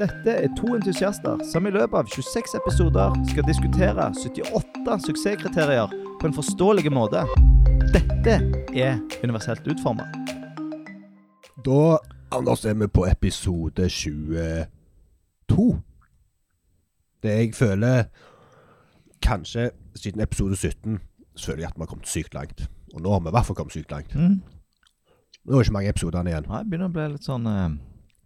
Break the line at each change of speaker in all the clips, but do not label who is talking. Dette er to entusiaster som i løpet av 26 episoder skal diskutere 78 suksesskriterier på en forståelig måte. Dette er universelt utforma.
Da, Anders, er vi på episode 22. Det jeg føler Kanskje siden episode 17 så føler jeg at vi har kommet sykt langt. Og nå har vi i hvert fall kommet sykt langt. Nå er det ikke mange episodene igjen.
Nei, Mm. begynner å bli litt sånn eh,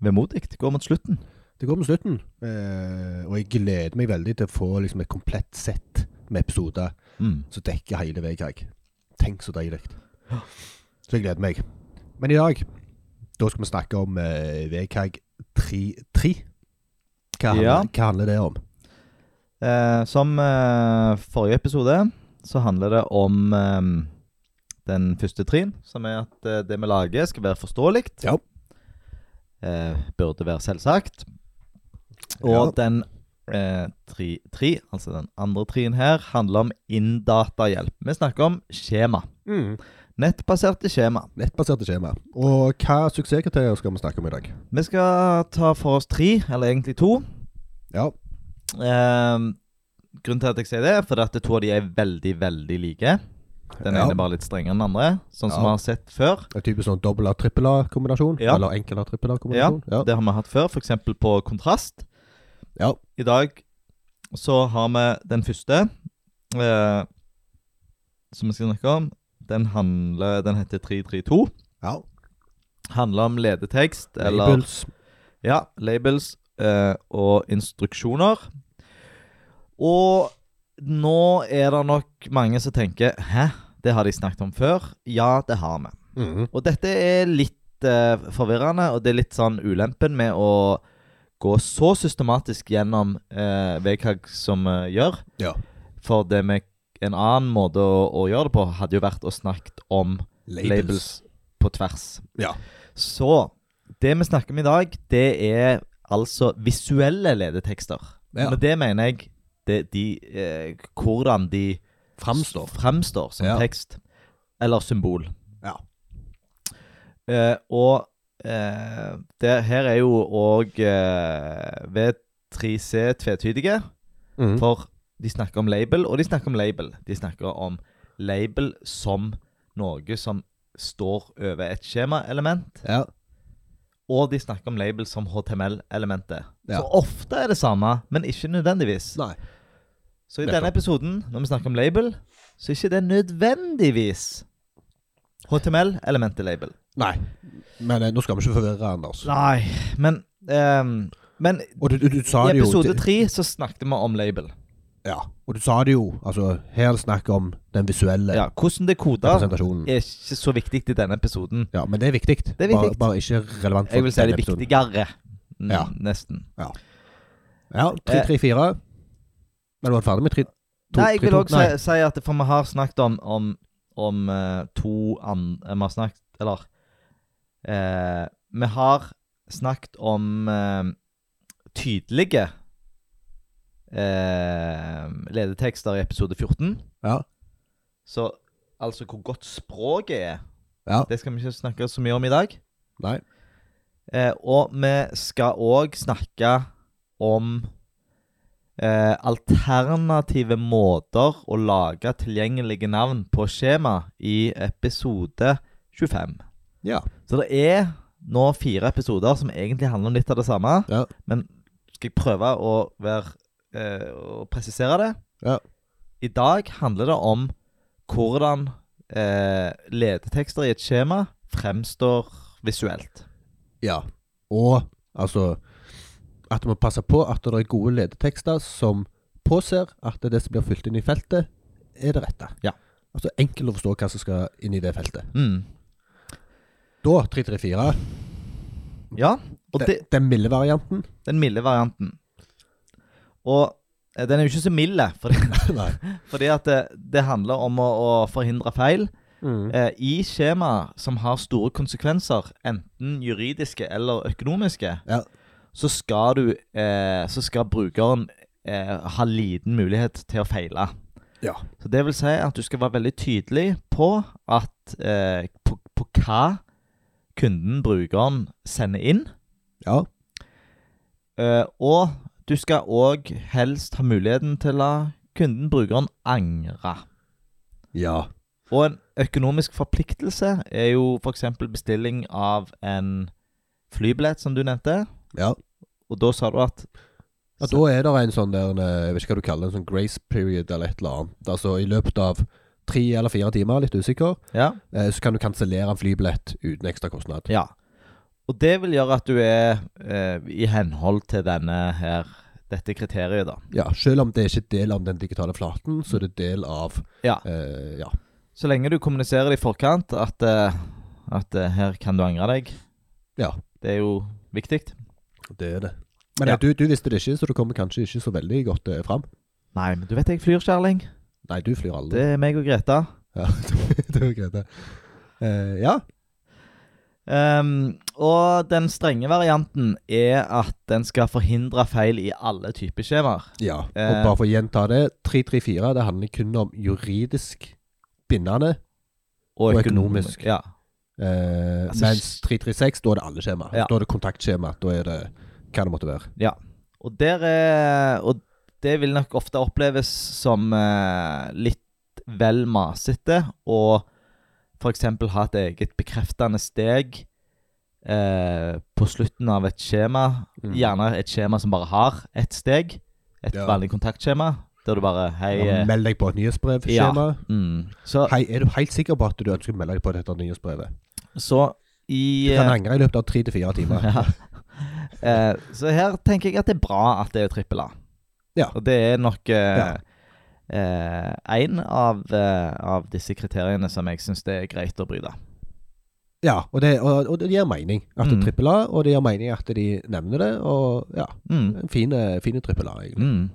vemodig. Det går mot slutten.
Det går mot slutten, eh, og jeg gleder meg veldig til å få liksom, et komplett sett med episoder
Mm.
som dekker hele Vegag. Tenk så deilig. Så jeg gleder meg. Men i dag, da skal vi snakke om eh, Vegag 3. Hva, handler-
Ja.
hva handler det om?
Eh, som eh, forrige episode, så handler det om eh, den første trin, som er at eh, det vi lager, skal være forståelig.
Ja.
Eh, burde være selvsagt.
Ja.
Og den eh, tri, tri, altså den andre trien her, handler om inndatahjelp. Vi snakker om skjema. Nettbaserte skjema.
Mm. Nettbaserte skjema. Og hva suksesskriterier skal vi snakke om i dag?
Vi skal ta for oss tre, eller egentlig to.
Ja.
Eh, grunnen til at jeg sier det, er fordi at to av de er veldig, veldig like. Den
Ja.
ene bare litt strengere enn den andre, sånn som
Ja.
vi har sett før.
En typisk sånn dobbel A-trippel A-kombinasjon?
Ja.
Eller enkel A-trippel A-kombinasjon? Ja.
Det har vi hatt før, f.eks. på kontrast.
Ja.
I dag så har vi den første, eh, som vi skal snakke om. Den, handler, den heter 332.
ja.
Handler om ledetekst, eller
Labels.
ja, labels eh, og instruksjoner. Og nå er det nok mange som tenker 'hæ, det har de snakket om før'? Ja, det har vi.
Mhm.
Og dette er litt eh, forvirrende, og det er litt sånn ulempen med å gå så systematisk gjennom eh, VKG som vi gjør.
Ja.
For det med en annen måte å, å gjøre det på hadde jo vært å snakke om
Labels.
labels. på tvers.
Ja.
Så det vi snakker om i dag, det er altså visuelle ledetekster.
Ja.
Med det mener jeg det, de, eh, hvordan de
Framstår.
framstår som
Ja.
tekst. Eller symbol.
Ja.
Eh, og eh, det her er jo òg eh, V3C tvetydige,
Mhm.
for de snakker om label, og de snakker om label. De snakker om label som noe som står over et skjemaelement,
ja.
og de snakker om label som HTML-elementet.
Ja.
Så ofte er det samme, men ikke nødvendigvis.
Nei.
Så i
nettopp.
denne episoden, når vi snakker om label, så er ikke det nødvendigvis HTML-elementet-label.
Nei. Men eh, nå skal vi ikke forvirre, Anders.
Nei, men ehm, Men
Og du, du, du sa
i
det jo
episode
det-
tre så snakket vi om label.
Ja. Og du sa det jo. Altså, her er det snakk om den visuelle
Ja, Hvordan det er kodet,
representasjonen.
er ikke så viktig i denne episoden.
Ja, men det er viktig.
Det er
Bare,
viktig.
bare ikke relevant for
Jeg vil si
denne
det er
episoden.
viktigere. N-
Ja.
Nesten.
Ja, 3-3-4. Men var du ferdig med 3
Eh. Nei, jeg vil òg si,
Nei.
si at for vi har snakket om, om, om eh, to andre Vi har snakket Eller eh, Vi har snakket om eh, tydelige eh, ledetekster i episode 14.
Ja.
Så altså hvor godt språket er,
Ja.
det skal vi ikke snakke så mye om i dag.
Nei.
Eh, og vi skal òg snakke om eh, alternative måter å lage tilgjengelige navn på skjema i episode 25.
Ja.
Så det er nå fire episoder som egentlig handler om litt av det samme.
Ja.
Men skal jeg prøve å, være, eh, å presisere det?
Ja.
I dag handler det om hvordan eh, ledetekster i et skjema fremstår visuelt.
ja. Og altså At vi må passe på at det er gode ledetekster som påser at det som blir fylt inn i feltet, er det rette.
Ja.
Altså enkelt å forstå hva som skal inn i det feltet.
Mm.
Da 3-3-4.
Ja, og det,
Den, den milde varianten.
den milde varianten. Og eh, den er jo ikke så mild, fordi,
Nei.
fordi at det, det handler om å, å forhindre feil.
Mm.
Eh, I skjemaer som har store konsekvenser, enten juridiske eller økonomiske,
Ja.
så skal du eh, Så skal brukeren eh, ha liten mulighet til å feile.
Ja.
Så det vil si at du skal være veldig tydelig på at eh, på, på hva kunden, brukeren, sender inn.
ja.
Eh, og du skal òg helst ha muligheten til å la kunden, brukeren, angre.
Ja.
Og en økonomisk forpliktelse er jo f.eks. bestilling av en flybillett, som du nevnte.
ja.
Og da sa du at
Ja, Da er det en sånn der eh, Jeg vet ikke hva du kaller det, en sånn grace period eller et eller annet. Altså i løpet av tre eller fire timer, litt usikker,
Ja.
eh, så kan du kansellere en flybillett uten ekstra kostnad.
ja. Og det vil gjøre at du er eh, i henhold til denne her, dette kriteriet, da.
Ja, Selv om det er ikke del av den digitale flaten, så er det del av
Ja.
eh, ja.
Så lenge du kommuniserer det i forkant at, eh, at eh, her kan du angre deg.
Ja.
Det er jo viktig.
Det er det. Men
Ja.
eh, du, du visste det ikke, så du kommer kanskje ikke så veldig godt eh, fram.
Nei, men du vet jeg flyr, kjærling.
Nei, du flyr aldri.
Det er meg og Greta.
Ja, det var greit, det. Eh, ja.
Ehm, og den strenge varianten er at den skal forhindre feil i alle typer skjemaer.
ja. Og
Eh.
bare for å gjenta det, 334 det handler kun om juridisk bindende, Og økonomisk.
Ja.
eh,
Altså,
mens 336 da er det alle skjema.
Ja.
Da er det kontaktskjema. Da er det hva det måtte være.
Og der er Og det vil nok ofte oppleves som eh, litt vel masete å f.eks. ha et eget bekreftende steg eh, på slutten av et skjema.
Mm.
Gjerne et skjema som bare har ett steg. Et
Ja.
vanlig kontaktskjema. Der du bare Hei.
Ja,
eh,
meld deg på et nyhetsbrev.
ja.
Skjema.
mm. Så,
Hei, er du helt sikker på at du ønsker å melde deg på dette nyhetsbrevet?
så i
Du kan
eh,
angre i løpet av tre til fire timer.
Ja. Eh, så her tenker jeg at det er bra at det er trippel A.
Ja.
Og det er nok
Ja.
én eh, en av, eh, av disse kriteriene som jeg syns det er greit å bryte.
Ja, og det, og, og det gir mening at det
Mm.
er trippel A, og det gir mening at de nevner det. Og ja,
Mm.
en fin eh, fin trippel A, egentlig.
Mm.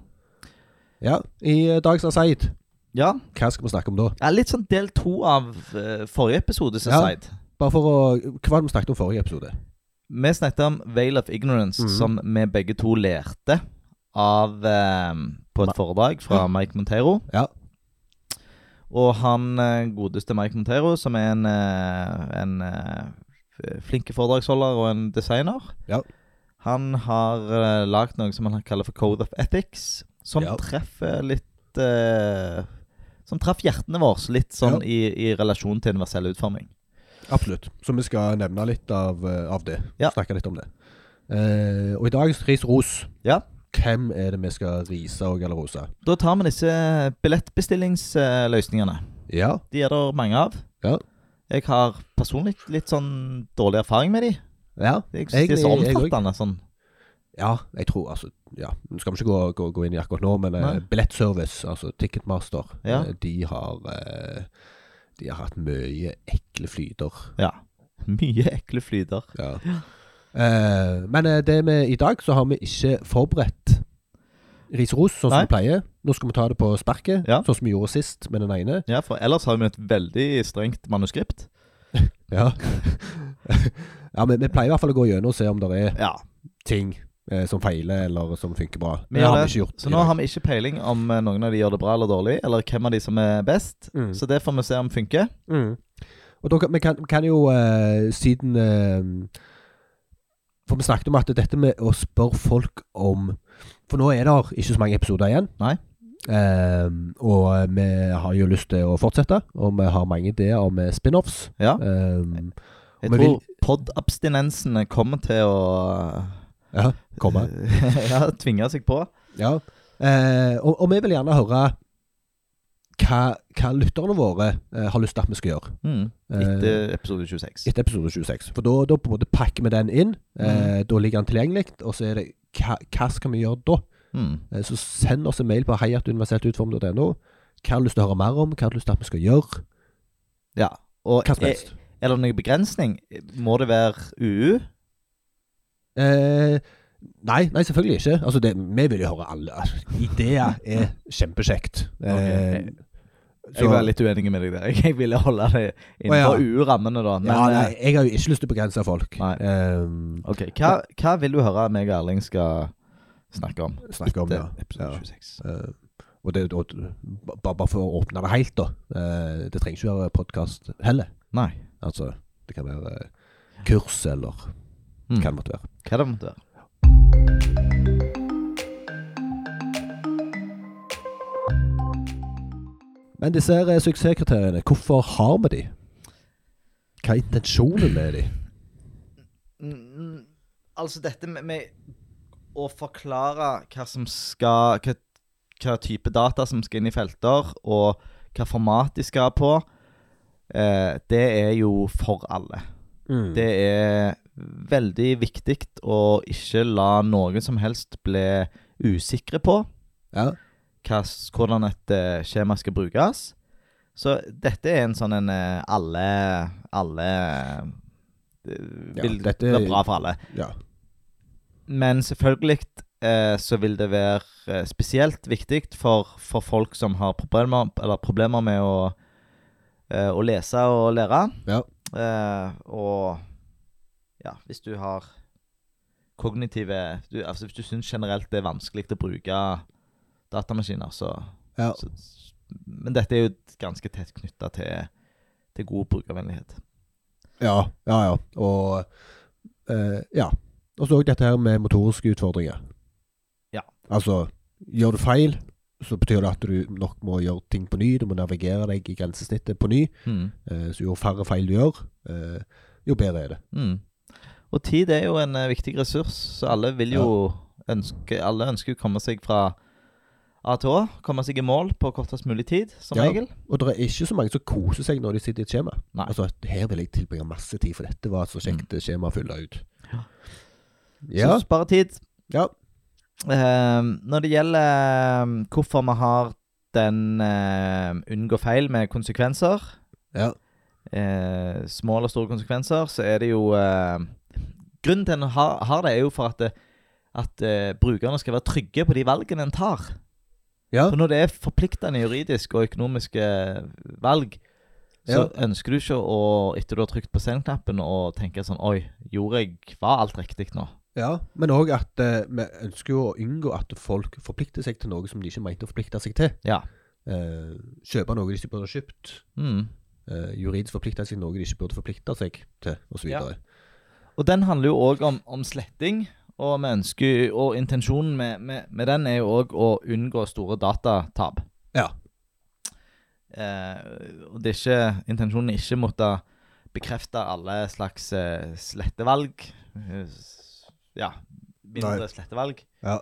Ja, i eh, Dags Aseid,
Ja.
hva skal vi snakke om da?
ja. Litt sånn del to av eh, forrige episode, som
Ja.
sagt.
Bare for å Hva var det vi snakket om forrige episode?
Vi snakket om Veil of Ignorance,
Mhm.
som vi begge to lærte av eh, på
Ma-
et foredrag fra Mike Montero.
Ja.
Og han eh, godeste Mike Montero, som er en, eh, en eh, f- flink foredragsholder og en designer,
Ja.
han har uh, lagd noe som han kaller for Code of Ethics, som
Ja.
treffer litt eh, Som traff hjertene våre litt sånn
Ja.
i, i relasjon til universell utforming.
Absolutt. Så vi skal nevne litt av, eh, av det.
Ja.
Snakke litt om det. Eh, og i dagens Ris ros,
Ja.
hvem er det vi skal rise og eller rose?
Da tar vi disse billettbestillingsløsningene.
Ja.
De er det mange av.
Ja.
Jeg har personlig litt sånn dårlig erfaring med de.
Ja.
Jeg synes de er så
Egentlig, jeg
omfattende. Sånn.
Ja, jeg tror altså ja. Nå skal vi ikke gå, gå, gå inn i akkurat nå, men eh,
Nei.
Billettservice, altså Ticketmaster,
Ja.
eh, de har eh, De har hatt mye ekle flyter.
Ja. Mye ekle flyter.
Ja. Eh, men eh, det med i dag, så har vi ikke forberedt ris og ros sånn som
Nei.
vi pleier. Nå skal vi ta det på sparket,
Ja.
sånn som vi gjorde sist med den ene.
Ja, for ellers har vi et veldig strengt manuskript.
Ja, ja men vi pleier i hvert fall å gå gjennom og se om det er
Ja.
ting eh, som feiler, eller som funker bra.
Vi
Det
gjør
har vi
det.
ikke gjort.
Så nå har vi ikke peiling om eh, noen av de gjør det bra eller dårlig, eller hvem av de som er best.
Mm.
Så det får vi se om funker.
Mm. Og da kan, vi kan, vi kan jo eh, siden eh, For vi snakket om at dette med å spørre folk om For nå er det ikke så mange episoder igjen.
Nei.
Eh, og vi har jo lyst til å fortsette, og vi har mange ideer om eh, spin-offs.
Ja.
Eh,
Jeg
Men
tror podabstinensen kommer til å eh,
ja, komme.
ja, tvinge seg på.
Ja. Eh, og, og vi vil gjerne høre hva, hva lytterne våre eh, har lyst til at vi skal gjøre.
Mm.
Eh,
Etter episode Mm. 26.
etter episode 26. For da, da på en måte pakker vi den inn. Eh, da ligger den tilgjengelig. Og så er det hva, hva skal vi gjøre da?
Mm.
Eh, så send oss en mail på heiatuniversitetutformet.no. Hva har du lyst til å høre mer om? Hva har du lyst til at vi skal gjøre?
Ja. Og
Hva som
er,
helst.
er det noen begrensning? Må det være UU?
Eh, nei, nei, selvfølgelig ikke. Altså, det, vi vil jo høre alle. Altså, Ideer er kjempekjekt. Eh,
Ok. Jeg var litt uenig med deg der. Jeg ville holde det innenfor
Å, ja.
UU-rammene, da. Men,
ja, nei,
eh,
jeg har jo ikke lyst til å begrense folk.
Nei.
Eh,
Ok, hva, hva vil du høre meg og Erling skal snakke om?
Snakke om,
etter
ja.
Episode
Ja.
26.
Eh, og det, og, bare, bare for å åpne det helt, da. Eh, det trenger ikke være podkast heller.
Nei.
Altså, det kan være eh, kurs eller
Mm.
hva det måtte være.
Hva det måtte være?
Men disse her eh, suksesskriteriene, hvorfor har vi de? Hva er intensjonen med de?
Mm, Altså dette med, med å forklare hva som skal hva, hva type data som skal inn i felter, og hva format de skal på, eh, det er jo for alle. Det er veldig viktig å ikke la noen som helst bli usikre på
Ja.
hva, s- hvordan et eh, skjema skal brukes. Så dette er en sånn en eh, alle Alle eh,
Ja,
vil
dette er-
være bra for alle.
ja.
Men selvfølgelig eh, så vil det være eh, spesielt viktig for, for folk som har problemer, eller problemer med å, eh, å lese og lære.
Ja.
Eh, og ja, hvis du har kognitive du, Altså hvis du syns generelt det er vanskelig å bruke datamaskiner, så,
Ja.
så Men dette er jo ganske tett knytta til, til god brukervennlighet.
Ja, ja. ja. Og eh, ja. Og så òg dette her med motoriske utfordringer.
Ja.
Altså, gjør du feil, så betyr det at du nok må gjøre ting på ny. Du må navigere deg i grensesnittet på ny.
Mm.
Eh, så jo færre feil du gjør, eh, jo bedre er det.
Mm. Og tid er jo en eh, viktig ressurs, så alle vil jo ønske Alle ønsker å komme seg fra A til Å, komme seg i mål på kortest mulig tid, som
Ja.
regel.
Og det er ikke så mange som koser seg når de sitter i et skjema.
Nei. Mm.
Altså, her vil jeg tilbringe masse tid, for dette var et så kjekt skjema å fylle ut.
Ja.
Ja.
Så spare tid.
Ja.
Eh, når det gjelder eh, hvorfor vi har den eh, unngå feil med konsekvenser,
ja.
eh, små eller store konsekvenser, så er det jo eh, Grunnen til at en har, har det, er jo for at, det- at eh, brukerne skal være trygge på de valgene en tar.
Ja.
For når det er forpliktende juridisk og økonomiske valg, så ønsker du ikke å, etter du har trykt på send-knappen, å tenke sånn Oi, gjorde jeg Var alt riktig nå?
Ja, men òg at eh, vi ønsker jo å unngå at folk forplikter seg til noe som de ikke mente å forplikte seg til.
Ja.
Eh, kjøpe noe de ikke burde ha kjøpt.
Mm.
Eh, juridisk forplikte seg til noe de ikke burde forplikte seg til, osv.
Ja.
Ja.
Og den handler jo òg om, om sletting. Og, vi ønsker, og intensjonen med, med, med den er jo òg å unngå store datatap.
ja.
Eh, og det er ikke, intensjonen er ikke å måtte bekrefte alle slags eh, slettevalg. Eh, s- Ja, mindre
Nei.
slettevalg,
Ja.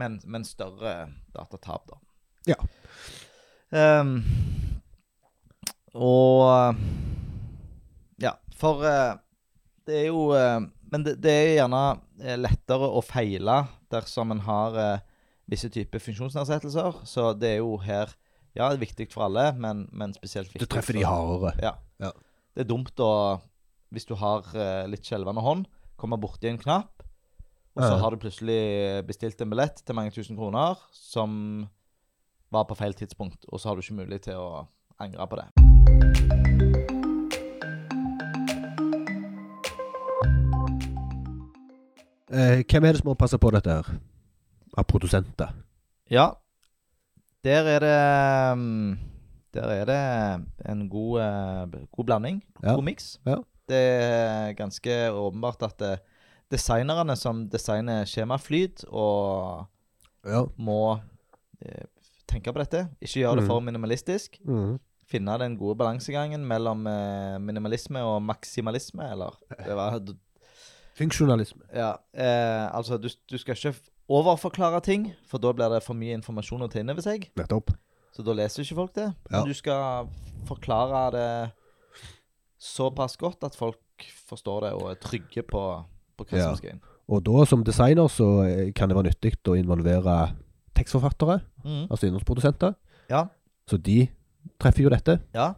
men, men større datatap, da.
Ja.
Ehm, og Ja, for eh, det er jo eh, Men det, det er gjerne eh, lettere å feile dersom en har eh, visse typer funksjonsnedsettelser. Så det er jo her Ja, det er viktig for alle, men, men spesielt
Du
viktig
treffer de
for-
hardere.
Ja.
Ja.
Det er dumt å Hvis du har eh, litt skjelvende hånd, komme borti en knapp, og så
Ja.
har du plutselig bestilt en billett til mange tusen kroner som var på feil tidspunkt, og så har du ikke mulighet til å angre på det.
Eh, hvem er det som må passe på dette her? Av produsenter?
Ja. Der er det mm, Der er det en god, eh, god blanding.
Ja.
God miks.
Ja.
Det er ganske åpenbart at eh, designerne som designer skjemaflyt, og
Ja.
må eh, tenke på dette. Ikke gjøre det for minimalistisk.
Mm.
Finne den gode balansegangen mellom eh, minimalisme og maksimalisme, eller det var,
Funksjonalisme.
ja, eh, Altså, du, du skal ikke overforklare ting, for da blir det for mye informasjon å ta inn over seg.
Nettopp.
Så da leser ikke folk det.
Ja.
Men du skal forklare det såpass godt at folk forstår det og er trygge på, på hva
Ja.
som skal inn.
Og da, som designer, så eh, kan det være nyttig å involvere tekstforfattere,
Mhm.
altså innholdsprodusenter.
Ja.
Så de treffer jo dette.
ja.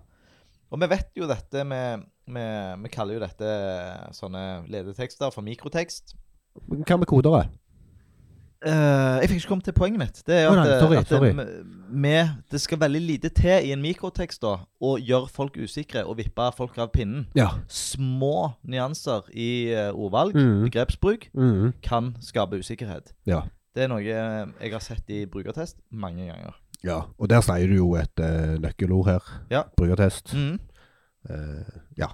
Og vi vet jo dette med med- Vi kaller jo dette eh, sånne ledetekster for mikrotekst.
Men Hva med kodere?
Eh, jeg fikk ikke kommet til poenget mitt. Det er jo
Å,
at, eh,
nei, sorry,
at
sorry.
det- Med, det skal veldig lite til i en mikrotekst da, å gjøre folk usikre og vippe folk av pinnen.
Ja.
Små nyanser i eh, ordvalg,
Mhm.
begrepsbruk,
Mhm.
kan skape usikkerhet.
Ja.
Det er noe eh, jeg har sett i brukertest mange ganger.
ja. Og der sier du jo et eh, nøkkelord her.
Ja.
Mm. Brukertest.
Mm.
Eh, ja.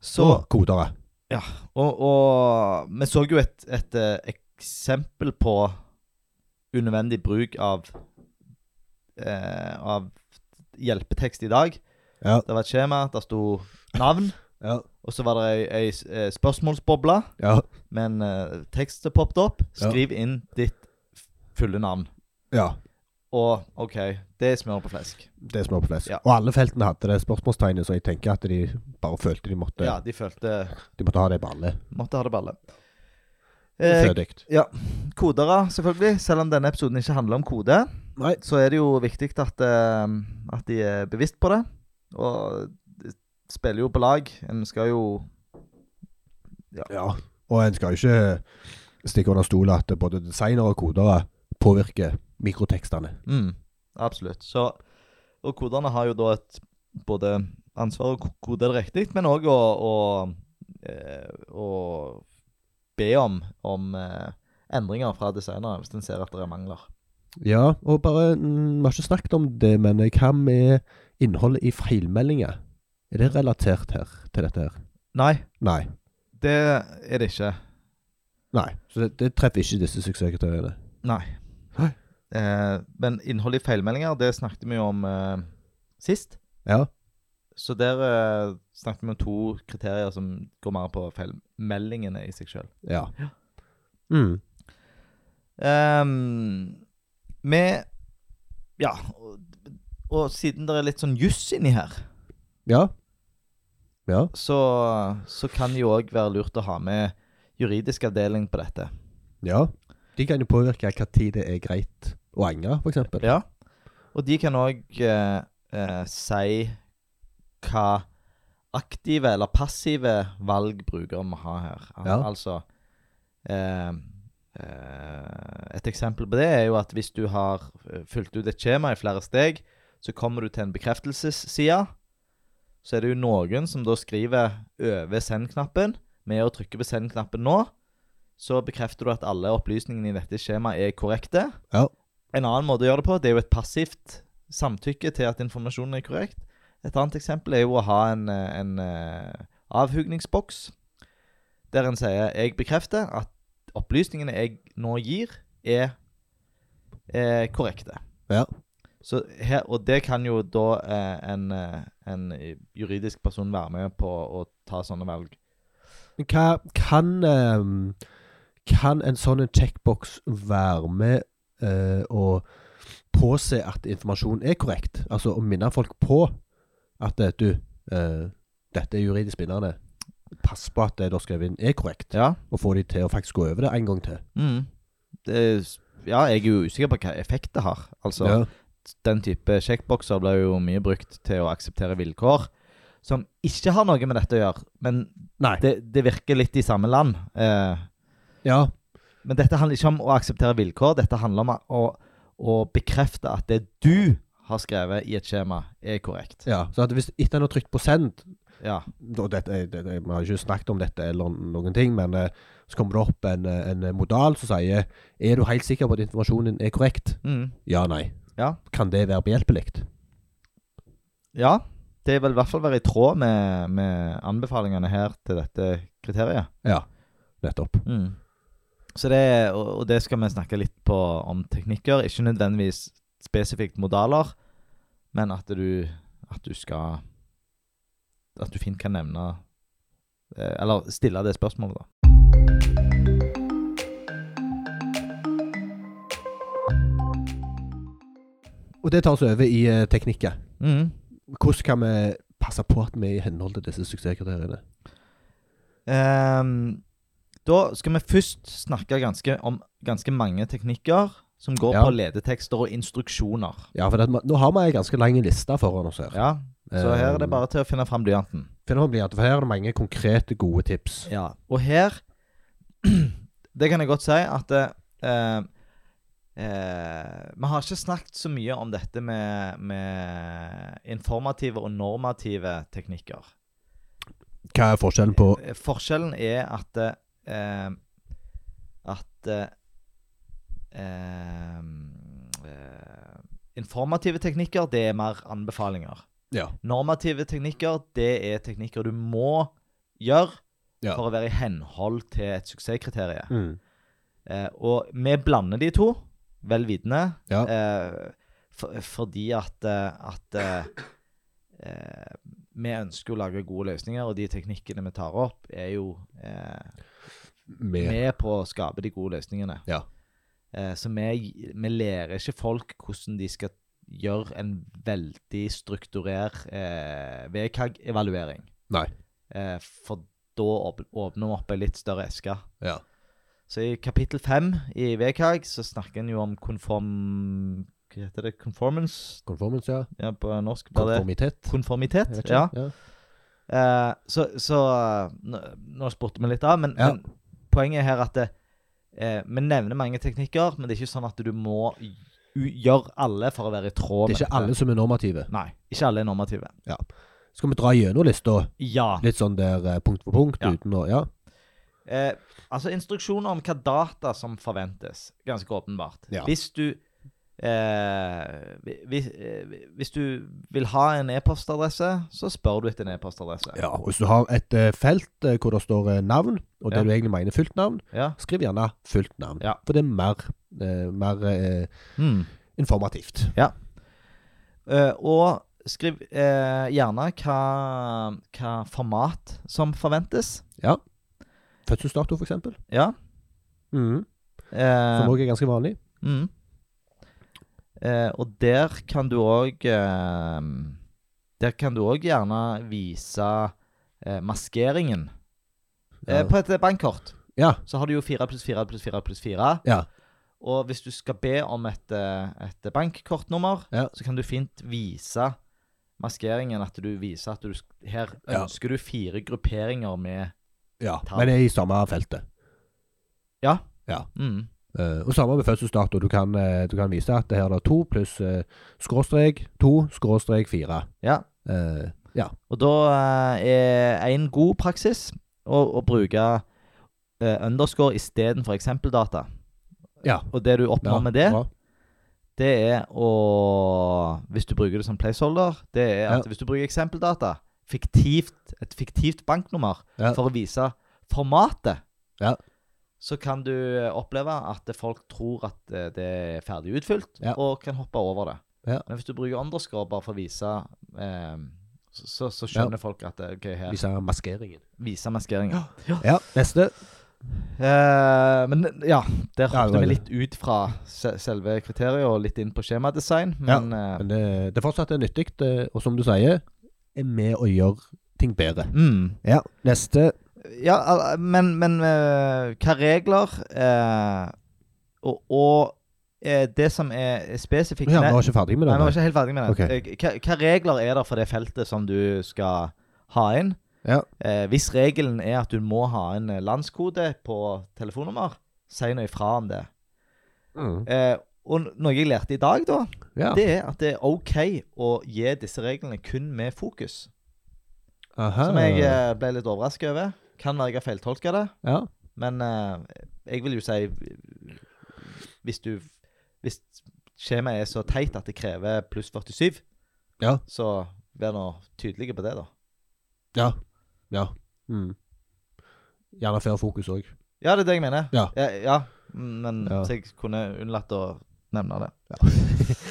Så
Og kodere.
Ja, og, og vi så jo et, et eh, eksempel på unødvendig bruk av, eh, av hjelpetekst i dag.
Ja.
Det var et skjema, der sto navn,
Ja.
og så var det ei, ei s- eh, spørsmålsboble
ja.
med en eh, tekst som poppet opp.
Ja.
Skriv inn ditt f- fulle navn.
ja.
Og OK, det er smør på flesk.
Det er smør på flesk.
Ja.
Og alle feltene hadde det spørsmålstegnet, så jeg tenker at de bare følte de måtte,
Ja, de følte
de måtte ha det på alle.
Måtte ha det balle. Eh,
Fødig.
ja. Kodere, selvfølgelig. Selv om denne episoden ikke handler om kode,
Nei.
så er det jo viktig at, eh, at de er bevisst på det. Og de spiller jo på lag. En skal jo
Ja. Og en skal jo ikke stikke under stol at både designere og kodere påvirker mikrotekstene.
mm, Absolutt. Så, og koderne har jo da et både ansvar og kode det riktig, men òg å, å, eh, å be om, om eh, endringer fra designere hvis en ser at det er mangler.
Ja, og bare mm, Vi har ikke snakket om det, men hva med innholdet i feilmeldinger? Er det relatert her til dette her?
Nei,
Nei.
det er det ikke.
Nei. Så det, det treffer ikke disse suksesskriteriene.
Nei.
Nei.
Eh, men innholdet i feilmeldinger, det snakket vi jo om eh, sist.
Ja.
Så der eh, snakket vi om to kriterier som går mer på feilmeldingene i seg sjøl.
Ja. Mm.
Ehm, vi Ja, og, og siden det er litt sånn juss inni her,
Ja. Ja.
så, så kan det jo òg være lurt å ha med juridisk avdeling på dette.
Ja. De kan jo påvirke hva tid det er greit å angre, for eksempel.
Ja. Og de kan òg eh, eh, si hva aktive eller passive valg bruker må ha her. Al
Ja.
Altså eh, eh, Et eksempel på det er jo at hvis du har eh, fylt ut et skjema i flere steg, så kommer du til en bekreftelsesside. Så er det jo noen som da skriver over send-knappen. Med å trykke på send-knappen nå, så bekrefter du at alle opplysningene i dette skjemaet er korrekte.
Ja.
En annen måte å gjøre det på, det er jo et passivt samtykke til at informasjonen er korrekt. Et annet eksempel er jo å ha en, eh, en eh, avhugningsboks der en sier 'jeg bekrefter at opplysningene jeg nå gir, er, er korrekte'.
Ja.
Så her, og det kan jo da eh, en, eh, en juridisk person være med på å ta sånne valg.
Men hva kan ehm, Kan en sånn en checkbox være med eh, å påse at informasjonen er korrekt? Altså å minne folk på at eh, du, eh, dette er juridisk bindende. Pass på at det du har skrevet inn, er korrekt,
Ja.
og få de til å faktisk gå over det en gang til.
Mm. Det, ja, jeg er jo usikker på hva effekt det har. Altså,
Ja.
den type sjekkbokser ble jo mye brukt til å akseptere vilkår som ikke har noe med dette å gjøre, men
Nei.
det, det virker litt i samme land. Eh,
Ja.
men dette handler ikke om å akseptere vilkår, dette handler om å, å bekrefte at det du har skrevet i et skjema, er korrekt.
ja. Så at hvis etter en har trykt på send,
Ja.
og dette, er- dette, er- Vi har ikke snakket om dette eller noen ting, men eh, så kommer det opp en, eh, en modal som sier Er du helt sikker på at informasjonen din er korrekt?
Mm.
Ja, nei.
Ja.
Kan det være behjelpelig?
ja. Det vil i hvert fall være i tråd med, med anbefalingene her til dette kriteriet.
Ja, nettopp.
Mm. Så det, og og det skal vi snakke litt på om teknikker. Ikke nødvendigvis spesifikt modaler, men at du, at du skal At du fint kan nevne eh, Eller stille det spørsmålet, da.
Og det tar oss over i eh, teknikker.
Mm.
Hvordan kan vi passe på at vi er i henhold til disse suksesskriteriene?
Ehm, da skal vi først snakke ganske, om ganske mange teknikker som går
Ja.
på ledetekster og instruksjoner.
Ja, for det, at vi- nå har vi ei ganske lang liste foran oss her.
Ja, Så her er det
Eh,
bare til å finne fram blyanten.
finner vi at For her er det mange konkrete, gode tips.
Ja, og her Det kan jeg godt si at eh, eh, Vi har ikke snakket så mye om dette med, med informative og normative teknikker.
Hva er forskjellen på
Eh, Forskjellen er at eh, At eh, eh, eh, Informative teknikker, det er mer anbefalinger.
Ja.
Normative teknikker, det er teknikker du må gjøre
Ja.
for å være i henhold til et suksesskriterium.
Mm.
Eh, og vi blander de to, vel vitende,
Ja.
eh, for, fordi at, eh, at eh, eh, vi ønsker å lage gode løsninger, og de teknikkene vi tar opp, er jo eh,
Med
med på å skape de gode løsningene.
Ja.
Eh, så vi, vi lærer ikke folk hvordan de skal gjøre en veldig strukturert eh, VKG-evaluering.
Nei.
Eh, for da åp- åpner vi opp ei litt større eske.
Ja.
Så i kapittel fem i VKG så snakker en jo om konform... Hva heter det? Conformance?
Conformance, ja.
Ja, på norsk blir det
Konformitet. Jeg
konformitet.
vet ikke.
Ja.
ja.
Eh, så så eh, nå, nå spurte vi litt av, men,
Ja.
men poenget her er at det, eh, vi nevner mange teknikker, men det er ikke sånn at du må u gjøre alle for å være i tråd
Det er ikke alle som er normative.
Nei, ikke alle er normative.
Skal vi dra gjennom lista,
Ja.
litt sånn der eh, punkt for punkt,
Ja.
uten å Ja.
Eh, altså instruksjoner om hva data som forventes. Ganske åpenbart.
Ja.
Hvis du eh, vi- vi- eh, Hvis du vil ha en e-postadresse, så spør du etter en e-postadresse.
ja. Og hvis du har et eh, felt eh, hvor det står eh, navn, og det
Ja.
du egentlig mener fullt navn,
Ja.
skriv gjerne fullt navn.
Ja.
For det er mer, eh, mer eh,
Hmm.
informativt.
Eh, og skriv eh, gjerne hva, hva format som forventes.
Fødselsdato, for eksempel.
Ja.
Mhm.
Eh,
Som òg er ganske vanlig.
Mm. Eh, og der kan du òg eh, Der kan du òg gjerne vise eh, maskeringen. Eh,
Ja.
på et bankkort
Ja.
så har du jo 4 pluss 4 pluss 4 pluss 4.
Ja.
Og hvis du skal be om et, eh, et bankkortnummer,
Ja.
så kan du fint vise maskeringen. At du viser at du sk- Her
Ja.
ønsker du fire grupperinger med
ja.
Ta-
Men det er i samme feltet.
Ja.
Ja.
Mm.
Eh, og samme med fødselsdato. Du kan, eh, du kan vise at det her er det to pluss eh, skråstrek to skråstrek fire.
ja.
Eh,
Og da eh, er en god praksis å, å bruke eh, underscore istedenfor eksempeldata.
ja.
Og det du oppnår
ja,
med det,
bra.
det er å Hvis du bruker det som placeholder, det er at
Ja.
hvis du bruker eksempeldata, fiktivt, et fiktivt banknummer,
Ja.
for å vise formatet,
Ja.
så kan du eh, oppleve at folk tror at eh, det er ferdig utfylt,
Ja.
og kan hoppe over det.
Ja.
Men hvis du bruker underscore bare for å vise eh, så, så, så skjønner folk at eh, OK, her
Disse maskeringen.
Vise maskering.
Ja, neste.
Eh, men ja, der
Ja,
hoppet
det var
vi
det.
litt ut fra se selve kriteriet og litt inn på skjemadesign. Men eh,
Men det, det fortsatt er nyttig, eh, og som du sier, er med å gjøre ting bedre.
mm.
Ja, neste.
Ja, al- men, men eh, hva regler eh, Og, og eh, det som er er spesifikt
Ja, vi
Nei,
var ikke ferdig med
nei, vi var
den.
ikke helt ferdig med det.
Ok.
Eh, Hva, hva regler er det for det feltet som du skal ha inn?
Ja.
Eh, hvis regelen er at du må ha en eh, landskode på telefonnummer, si noe ifra om det.
Mm.
Eh, og n- noe jeg lærte i dag, da,
Ja.
det er at det er OK å gi disse reglene kun med fokus.
Aha.
Som jeg eh, ble litt overrasket over. Kan være jeg har feiltolka det,
Ja.
men eh, jeg vil jo si eh, Hvis du Hvis skjemaet er så teit at det krever pluss 47,
Ja.
så vær nå tydelige på det, da.
Ja. ja. Mm. Gjerne før fokus òg.
Ja, det er det jeg mener.
Ja.
ja, ja, men
Ja.
så jeg kunne unnlatt å nevne det.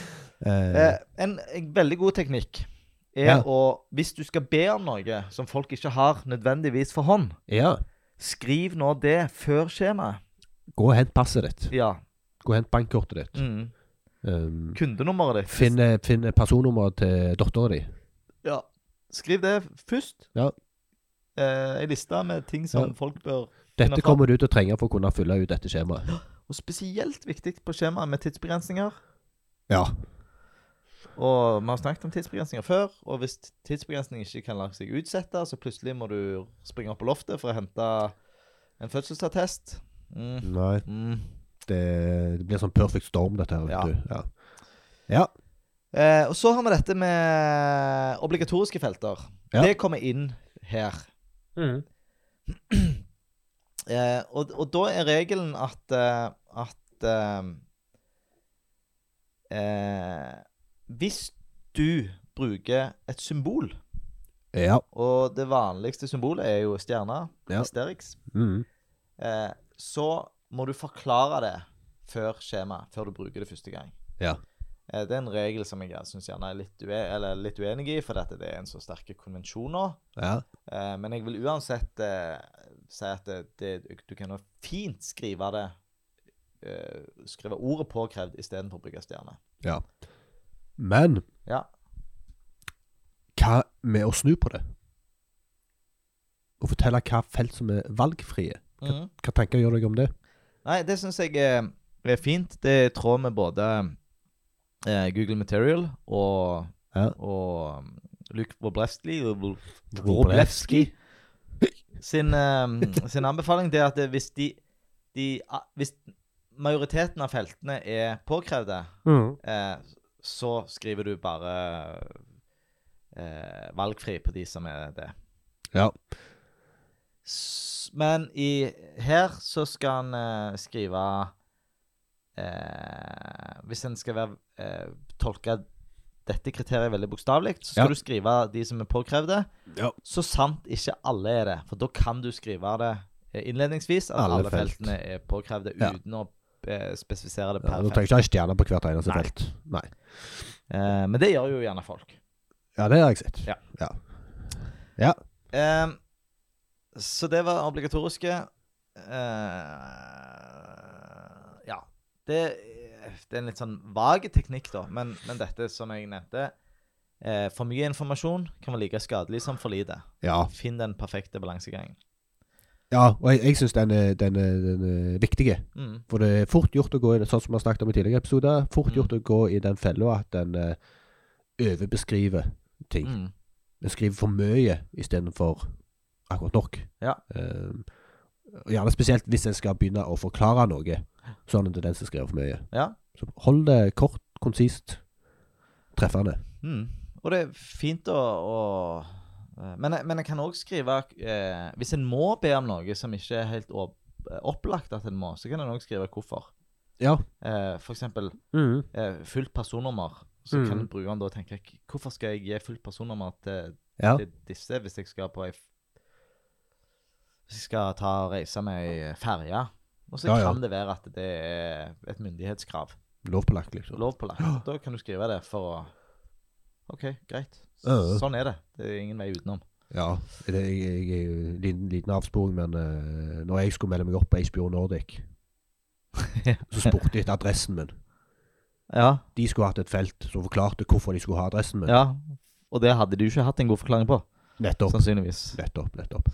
Eh,
Eh, en, en veldig god teknikk er
Ja.
å Hvis du skal be om noe som folk ikke har nødvendigvis for hånd,
ja.
skriv nå det før skjemaet.
Gå og hent passet ditt.
Ja.
Gå og hent bankkortet ditt.
Mm.
Um,
Kundenummeret ditt.
finn, eh, finn personnummeret til dattera di.
Ja. Skriv det først.
Ja.
Eh, Ei liste med ting som
Ja.
folk bør
Dette
Innenfor.
kommer du til å trenge for å kunne fylle ut dette skjemaet.
Og spesielt viktig på skjemaet med tidsbegrensninger.
Ja.
Og vi har snakket om tidsbegrensninger før, og hvis tidsbegrensning ikke kan la seg utsette, så plutselig må du springe opp på loftet for å hente en fødselsattest. Mm.
Nei.
Mm.
Det, det blir sånn perfect storm, dette her.
Ja.
Vet ja. Du. ja.
Eh, og så har vi dette med obligatoriske felter.
Ja.
Det kommer inn her.
Ja.
Mm. Eh, og, og da er regelen at eh, at eh, eh, hvis du bruker et symbol
Ja.
Og det vanligste symbolet er jo stjerna,
Ja.
Asterix.
Mm.
Eh, så må du forklare det før skjemaet, før du bruker det første gang.
Ja.
Eh, det er en regel som jeg syns gjerne er litt, ue eller litt uenig i, for dette, det er en så sterke konvensjon nå.
ja.
Eh, men jeg vil uansett eh, si at det, det, du kan jo fint skrive det eh, Skrive ordet 'påkrevd' istedenfor å bruke stjerne.
Ja. Men
Ja.
hva med å snu på det? Og fortelle hva felt som er valgfrie.
Mhm.
Hva tenker gjør deg om det?
Nei, det syns jeg eh, er fint. Det er i tråd med både eh, Google Material og,
Ja.
og um, Luke Wroblewski- Wroblewski
Wroblewski.
sin, eh, sin anbefaling. Det er at det- hvis de, de a- Hvis majoriteten av feltene er påkrevde, eh, så skriver du bare eh, valgfri på de som er det.
Ja.
S- Men i, her så skal en eh, skrive eh, Hvis en skal være, eh, tolke dette kriteriet veldig bokstavelig, så skal
Ja.
du skrive de som er påkrevde.
Ja.
Så sant ikke alle er det. For da kan du skrive det eh, innledningsvis at
Alle
alle,
felt.
feltene er påkrevde,
Ja.
uten å eh, spesifisere det
Ja,
per
du trenger
felt.
ikke ha en stjerne på hvert eneste
Nei.
felt. Nei.
Eh, men det gjør jo gjerne folk.
Ja, det har jeg sett.
Ja.
Ja.
Ehm, så det var obligatoriske. Eh, ja. Det, det er en litt sånn vag teknikk, da. Men, men dette som jeg nevnte eh, For mye informasjon kan være like skadelig som for lite.
Ja,
Finn den perfekte balansegangen.
ja og jeg, jeg syns den, er- den, er- den er viktig.
Mm.
For det er fort gjort å gå i det, sånn som vi har snakket om i tidligere episoder, fort
Mm.
gjort å gå i den fella at den eh, overbeskriver ting.
Mm.
Den skriver for mye istedenfor akkurat nok.
Ja.
Ehm, og gjerne spesielt hvis en skal begynne å forklare noe, så har en tendens til å skrive for mye.
Ja.
Så hold det kort, konsist, treffende.
Mm. Og det er fint å, å eh, men, jeg- men jeg kan òg skrive eh, Hvis en må be om noe som ikke er helt opp, eh, opplagt at en må, så kan en òg skrive hvorfor.
Ja.
Eh, for eksempel eh, fullt personnummer. Så
Mm.
kan brukeren da tenke "K- Hvorfor skal jeg gi fullt personnummer til,
Ja.
til disse hvis jeg skal på ei f- Hvis jeg skal ta og reise med ei ferje? Og så
Ja, ja.
kan det være at det er et myndighetskrav.
Lovpålagt, liksom.
Lovpålagt. Da kan du skrive det for å OK, greit. S-
Ja, ja.
Sånn er det. Det er ingen vei utenom.
Ja. Det, jeg, jeg, er jo en liten, liten avsporing, men uh, når jeg skulle melde meg opp på HBO Nordic, så spurte de etter adressen min.
Ja,
De skulle hatt et felt som forklarte hvorfor de skulle ha adressen min.
ja. Og det hadde du ikke hatt en god forklaring på,
Nettopp.
sannsynligvis.
Nettopp. Nettopp.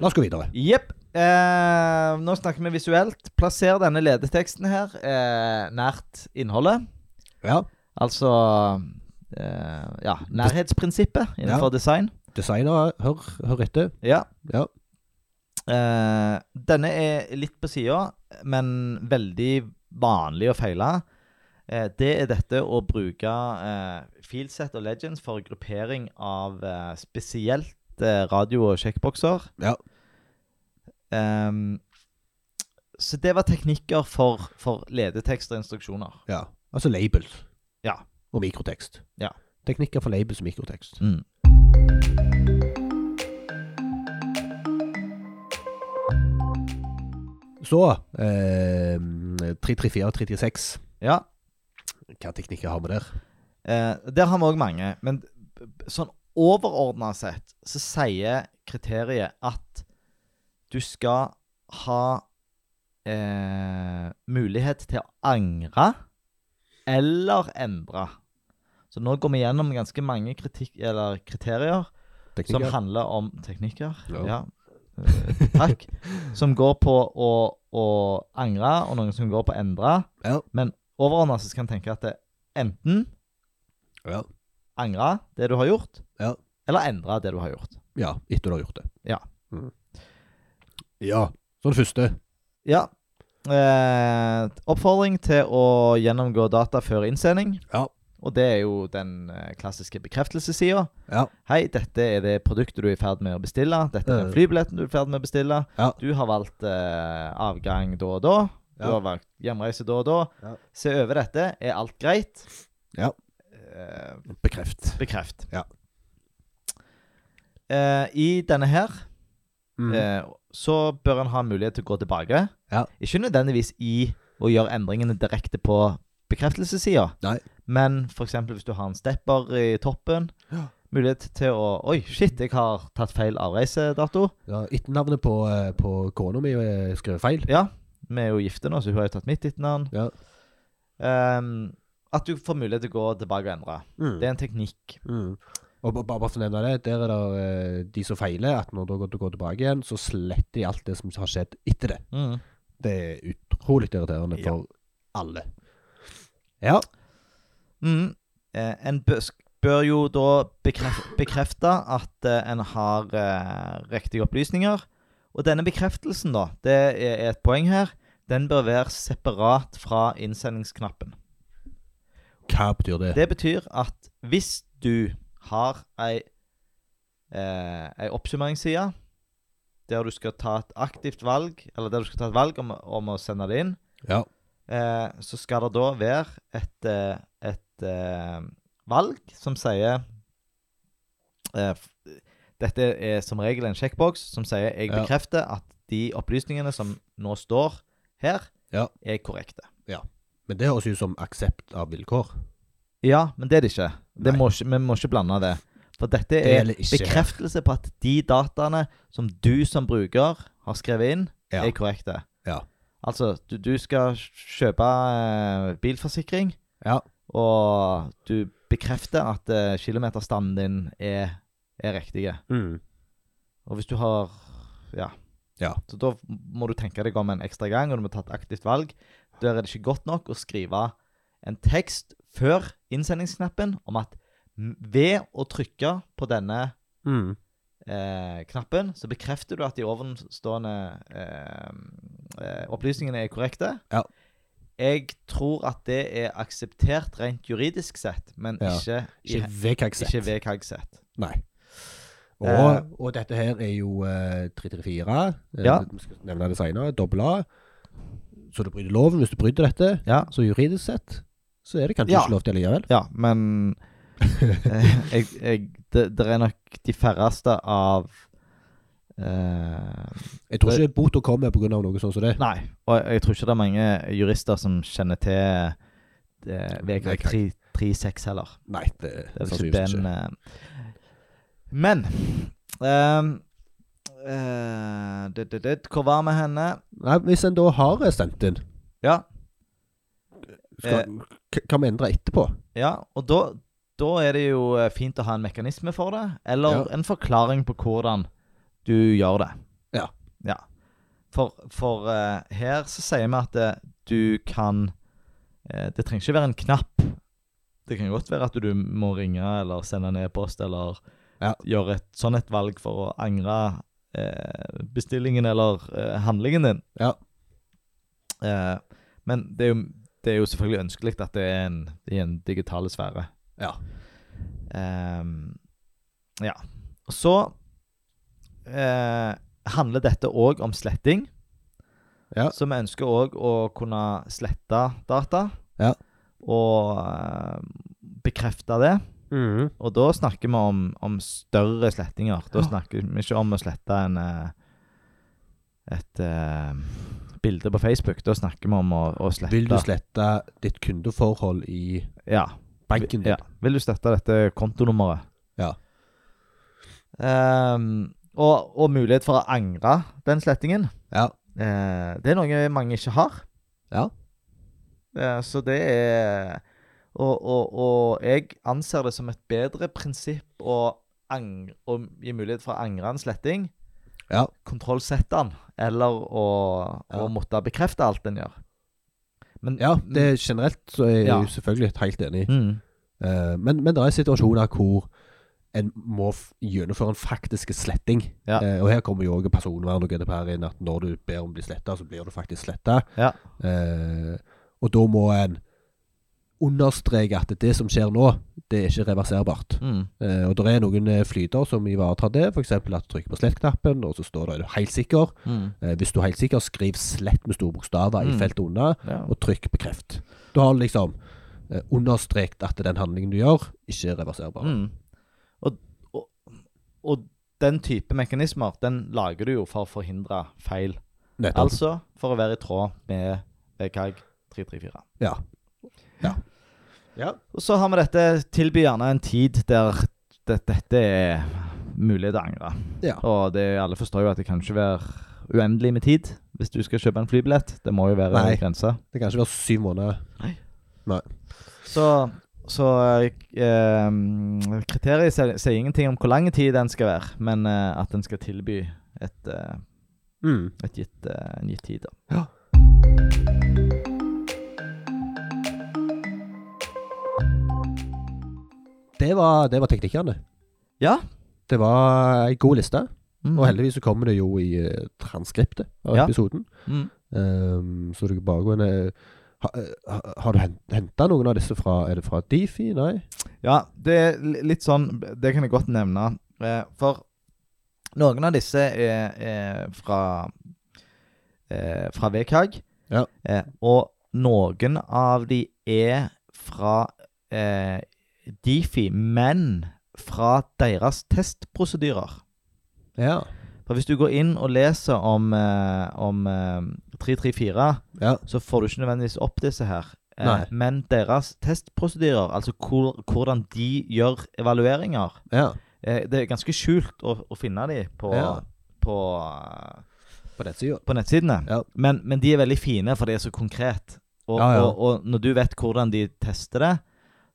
La oss gå videre.
Jepp. Eh, nå snakker vi visuelt. Plasser denne ledeteksten her eh, nært innholdet.
Ja.
Altså eh, Ja, nærhetsprinsippet innenfor
Ja.
design.
Designer, hør, hør etter.
Ja.
Ja.
Eh, denne er litt på sida, men veldig vanlig å feile. Eh, det er dette å bruke eh, Fieldset og Legends for gruppering av eh, spesielt eh, radio- og sjekkbokser.
Ja.
Ehm, så det var teknikker for, for ledetekster og instruksjoner.
Ja. Altså labels.
Ja.
Og mikrotekst.
Ja.
Teknikker for labels og mikrotekst.
Mm.
Så eh, 334 og 336.
Ja.
Hva teknikker har vi der?
Eh, der har vi òg mange. Men b- b- sånn overordna sett så sier kriteriet at du skal ha eh, mulighet til å angre eller endre. Så nå går vi gjennom ganske mange kritikk, eller kriterier som
Teknikker?
handler om teknikker.
Ja.
Ja. Eh, takk. Som går på å, å angre, og noen som går på å endre.
Ja.
Men overordna så skal en tenke at det enten
Ja.
angre det du har gjort,
Ja.
eller endre det du har gjort.
ja. Etter du har gjort det.
Ja.
Mm. Ja. Så det første.
Ja. Eh, oppfordring til å gjennomgå data før innsending.
Ja.
Og det er jo den eh, klassiske bekreftelsessida.
Ja.
Hei, dette er det produktet du er i ferd med å bestille. Dette er den
Ja.
flybilletten du er i ferd med å bestille.
Mm. Ja.
Du har valgt eh, avgang da og da. Du
Ja.
har valgt hjemreise da og da.
Ja.
Se over dette. Er alt greit?
Ja.
Eh,
Bekreft.
bekreft.
Ja.
eh, i denne her
Mm.
eh, så bør en ha mulighet til å gå tilbake.
Ja.
Ikke nødvendigvis i å gjøre endringene direkte på bekreftelsessida,
Nei.
men f.eks. hvis du har en stepper i toppen.
Ja.
Mulighet til å Oi, shit, jeg har tatt feil avreisedato.
Ja, Etternavnet på, eh, på kona mi eh, skrev feil.
Ja, vi er jo gifte nå, så hun har jo tatt mitt etternavn.
Ja.
Ehm, at du får mulighet til å gå tilbake og endre.
Mm.
Det er en teknikk.
Mm. Og ba- bare for å nevne det, der er det eh, de som feiler, at når du går- du går tilbake igjen, så sletter de alt det som har skjedd etter det.
Mm.
Det er utrolig irriterende
Ja.
for alle. Ja.
Mm. Eh, en bø- sk- bør jo da bekref bekrefte at eh, en har eh, riktige opplysninger. Og denne bekreftelsen, da, det er er et poeng her, den bør være separat fra innsendingsknappen.
Hva betyr det?
Det betyr at hvis du har ei, eh, ei oppsummeringsside der du skal ta et aktivt valg, eller der du skal ta et valg om, om å sende det inn,
Ja.
eh, så skal det da være et, eh, et eh, valg som sier eh, f- Dette er som regel en sjekkboks som sier jeg
Ja.
bekrefter at de opplysningene som nå står her,
Ja.
er korrekte.
Men det høres ut som aksept av vilkår.
Ja, men det er det ikke. Det
Nei.
må ikke. Vi må ikke blande det. For dette
Det
er
gjelder ikke.
bekreftelse på at de dataene som du som bruker har skrevet inn,
Ja.
er korrekte.
Ja.
Altså, du, du skal kjøpe eh, bilforsikring,
Ja.
og du bekrefter at eh, kilometerstammen din er, er riktige.
Mm.
Og hvis du har Ja.
Ja.
Så da må du tenke deg om en ekstra gang, og du må ta et aktivt valg. Der er det ikke godt nok å skrive en tekst før innsendingsknappen om at m- ved å trykke på denne
Mm.
eh, knappen, så bekrefter du at de ovenstående eh, eh, opplysningene er korrekte.
Ja.
Jeg tror at det er akseptert rent juridisk sett, men
Ja.
ikke, i,
Ikke VKX.
ikke ved KAG sett.
Nei. Og,
Eh.
og dette her er jo eh, 334. eh,
Ja.
Vi skal nevne det senere. Dobbel A. Så du bryter loven hvis du bryter dette.
Ja.
Så juridisk sett så er det kanskje
Ja.
ikke lov til likevel.
Ja, men eh, jeg, jeg, det, det er nok de færreste av eh,
Jeg tror ikke bota kommer pga. noe sånt som det.
Nei, og jeg, jeg tror ikke det er mange jurister som kjenner til eh,
VK.
VG 336 heller.
Nei,
Det
det,
er vel ikke
sannsynligvis
den
ikke.
eh. Men ehm, eh, det, det, det, Hvor var vi henne?
Nei, Hvis en da har sendt inn,
Ja,
skal,
Eh.
k- kan vi endre etterpå?
ja og da, da er det jo eh, fint å ha en mekanisme for det, eller
Ja.
en forklaring på hvordan du gjør det.
Ja.
Ja. For, for eh, her så sier vi at eh, du kan eh, Det trenger ikke være en knapp. Det kan godt være at du må ringe eller sende en e-post eller
Ja.
gjøre et sånn et valg for å angre eh, bestillingen eller eh, handlingen din.
Ja.
Eh, men det er, jo, det er jo selvfølgelig ønskelig at det er en, i en digital sfære.
Ja.
Ehm, ja. Og så eh, handler dette òg om sletting.
Ja.
Så vi ønsker òg å kunne slette data.
Ja.
Og eh, bekrefte det. Og da snakker vi om, om større slettinger. Da
Ja.
snakker vi ikke om å slette en eh, et eh, bilde på Facebook. Da snakker vi om å, å slette
Vil du slette ditt kundeforhold i
Ja.
banken din?
Ja. Vil du støtte dette kontonummeret?
Ja.
Ehm, og, og mulighet for å angre den slettingen.
Ja.
Eh, det er noe mange ikke har.
Ja.
Eh, så det er og, og, og jeg anser det som et bedre prinsipp å, ang- å gi mulighet for å angre en sletting.
Ja.
Kontrollsette den, eller å,
Ja.
å måtte bekrefte alt en gjør. Men
Ja, det er generelt så er jeg
Ja.
jo selvfølgelig helt enig.
mm,
Eh, men, men det er situasjoner hvor en må f gjennomføre en faktisk sletting.
Ja.
Eh, og her kommer jo også personvern og GDPR inn, at når du ber om å bli sletta, så blir du faktisk sletta.
Ja.
og da må en understreke at det som skjer nå, det er ikke reverserbart.
mm,
Eh, og det er noen eh, flyter som ivaretar det, f.eks. at du trykker på slett-knappen, og så står det er du helt sikker.
mm,
Eh, hvis du er helt sikker, skriv slett med store bokstaver
Mm.
i feltet under
ja.
og trykk bekreft. Du har liksom eh, Mm. understreket at den handlingen du gjør, ikke er reverserbar.
Mm. Og, og, og den type mekanismer den lager du jo for å forhindre feil.
Nettopp.
Altså for å være i tråd med VKG 334.
Ja. Ja. ja.
Og så har vi dette tilby gjerne en tid der det, dette er mulig å angre.
Ja.
Og det, alle forstår jo at det kan ikke være uendelig med tid hvis du skal kjøpe en flybillett. Det må jo være
Nei.
en grense.
Det kan ikke være syv måneder.
Så, så eh, kriteriet sier, sier ingenting om hvor lang tid den skal være, men eh, at den skal tilby et, eh,
Mm.
et gitt, eh, en gitt tid. Da.
Ja. Det var, det var teknikkene.
Ja.
Det var ei god liste,
Mm.
og heldigvis så kommer det jo i eh, transkriptet av
Ja.
episoden.
Mm.
Ehm, så du kan bare gå inn eh, ha, ha, Har du henta noen av disse fra Er det fra Difi? Nei?
Ja, det er li- litt sånn Det kan jeg godt nevne. Eh, for noen av disse er, er fra eh, Fra VKG.
Ja.
Eh, og noen av de er fra eh, Difi, men fra deres testprosedyrer.
Ja.
For hvis du går inn og leser om, eh, om eh, 334
ja.
så får du ikke nødvendigvis opp disse her. Eh,
Nei.
Men deres testprosedyrer, altså hvor, hvordan de gjør evalueringer
ja.
eh, Det er ganske skjult å, å finne de på,
Ja.
på,
På den sida.
på nettsidene.
Ja.
Men, men de er veldig fine, for det er så konkret. Og,
Ja, ja.
og, og når du vet hvordan de tester det,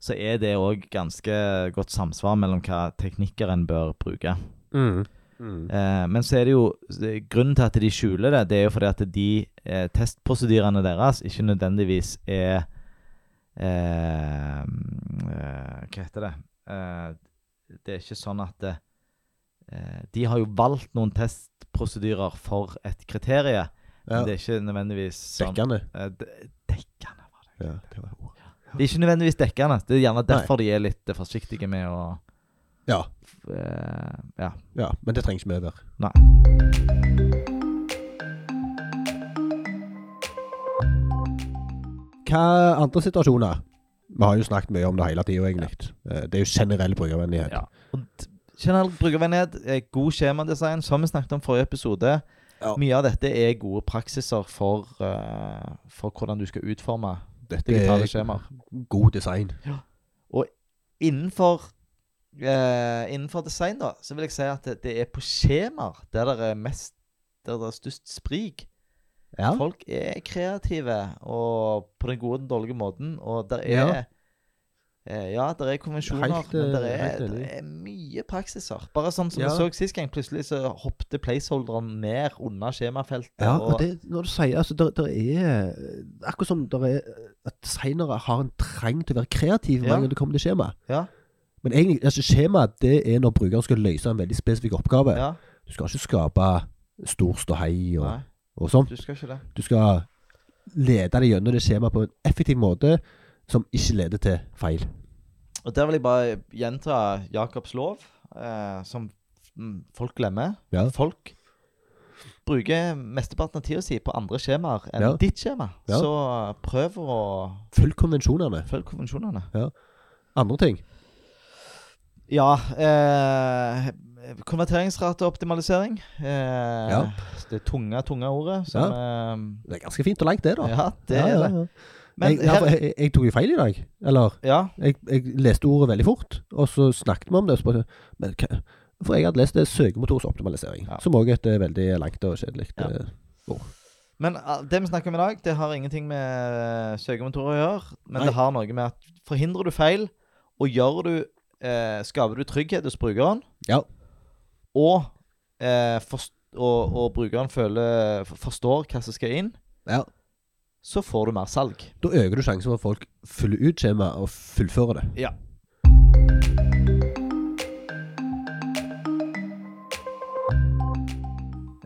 så er det òg ganske godt samsvar mellom hva teknikker en bør bruke.
Mm. Mm.
Eh, men så er det jo det- Grunnen til at de skjuler det, det er jo fordi at de eh, testprosedyrene deres ikke nødvendigvis er eh, eh, Hva heter det eh, Det er ikke sånn at det, eh, De har jo valgt noen testprosedyrer for et kriterie,
Ja.
men det er ikke nødvendigvis sånn
Dekkende.
eh, de- Dekkende. var det.
Ja, det var ordet.
Det er ikke nødvendigvis dekkende. Det er gjerne derfor de er litt eh, forsiktige med å
Ja.
eh, Ja.
ja. Men det trengs mye over.
Nei.
Hva andre situasjoner? Vi har jo snakket mye om det hele tida, egentlig. Eh, Det er jo generell brukervennlighet.
Ja. Og d- generell brukervennlighet, eh, god skjemadesign, som vi snakket om forrige episode.
Ja.
Mye av dette er gode praksiser for, eh, for hvordan du skal utforme
Dette
digitale
er
skjemaer.
god design.
Innenfor, eh, innenfor design da, så vil jeg si at det, det er på skjemaer der det er mest der det er størst sprik.
Ja.
Folk er kreative og på den gode og den dårlige måten, og der er
Ja.
eh, Ja, der er konvensjoner,
Helt, eh,
men der er,
helt enig.
der er mye praksiser. Bare sånn som
Ja.
vi så sist gang, plutselig så hoppte placeholderen ned under skjemafeltet.
Ja, og
og,
det, når du sier altså, der, der er Akkurat som der er at designere har en trang til å være kreative
Ja.
hver gang det kommer til skjema.
Ja.
Men egentlig, altså, skjema det er når brukeren skal løse en veldig spesifikk oppgave.
ja,
Du skal ikke skape stor ståhei og,
nei,
og sånn.
du skal ikke det.
Du skal lede deg gjennom det skjemaet på en effektiv måte som ikke leder til feil.
Og der vil jeg bare gjenta Jacobs lov, eh, som mm, folk glemmer.
Ja.
Folk bruker mesteparten av tida si på andre skjemaer enn
Ja.
ditt skjema.
Ja.
Så prøv å
Følg konvensjonene.
følge konvensjonene.
Andre ting.
Ja. Eh, konverteringsrate og optimalisering. Eh,
Ja.
Det tunge, tunge ordet. Som,
Det er ganske fint og langt, det,
eh,
da.
ja, det
Ja,
er
ja,
det.
ja.
Men
jeg, ja, for
her,
jeg, jeg tok jo feil i dag. Eller
ja,
jeg, jeg leste ordet veldig fort, og så snakket vi om det. Og så bare, men hva? For jeg hadde lest det søkemotorsoptimalisering,
Ja.
som òg er et eh, veldig langt og kjedelig
Ja.
eh,
men ah, det vi snakker om i dag, det har ingenting med eh, søkemotorer å gjøre. Men
Nei.
det har noe med at forhindrer du feil, og gjør du eh, Skaper du trygghet hos brukeren,
Ja.
og, eh, forst og, og brukeren føler, forstår hva som skal inn,
ja.
så får du mer salg.
Da øker du sjansen for at folk fyller ut skjemaet og fullfører det.
Ja.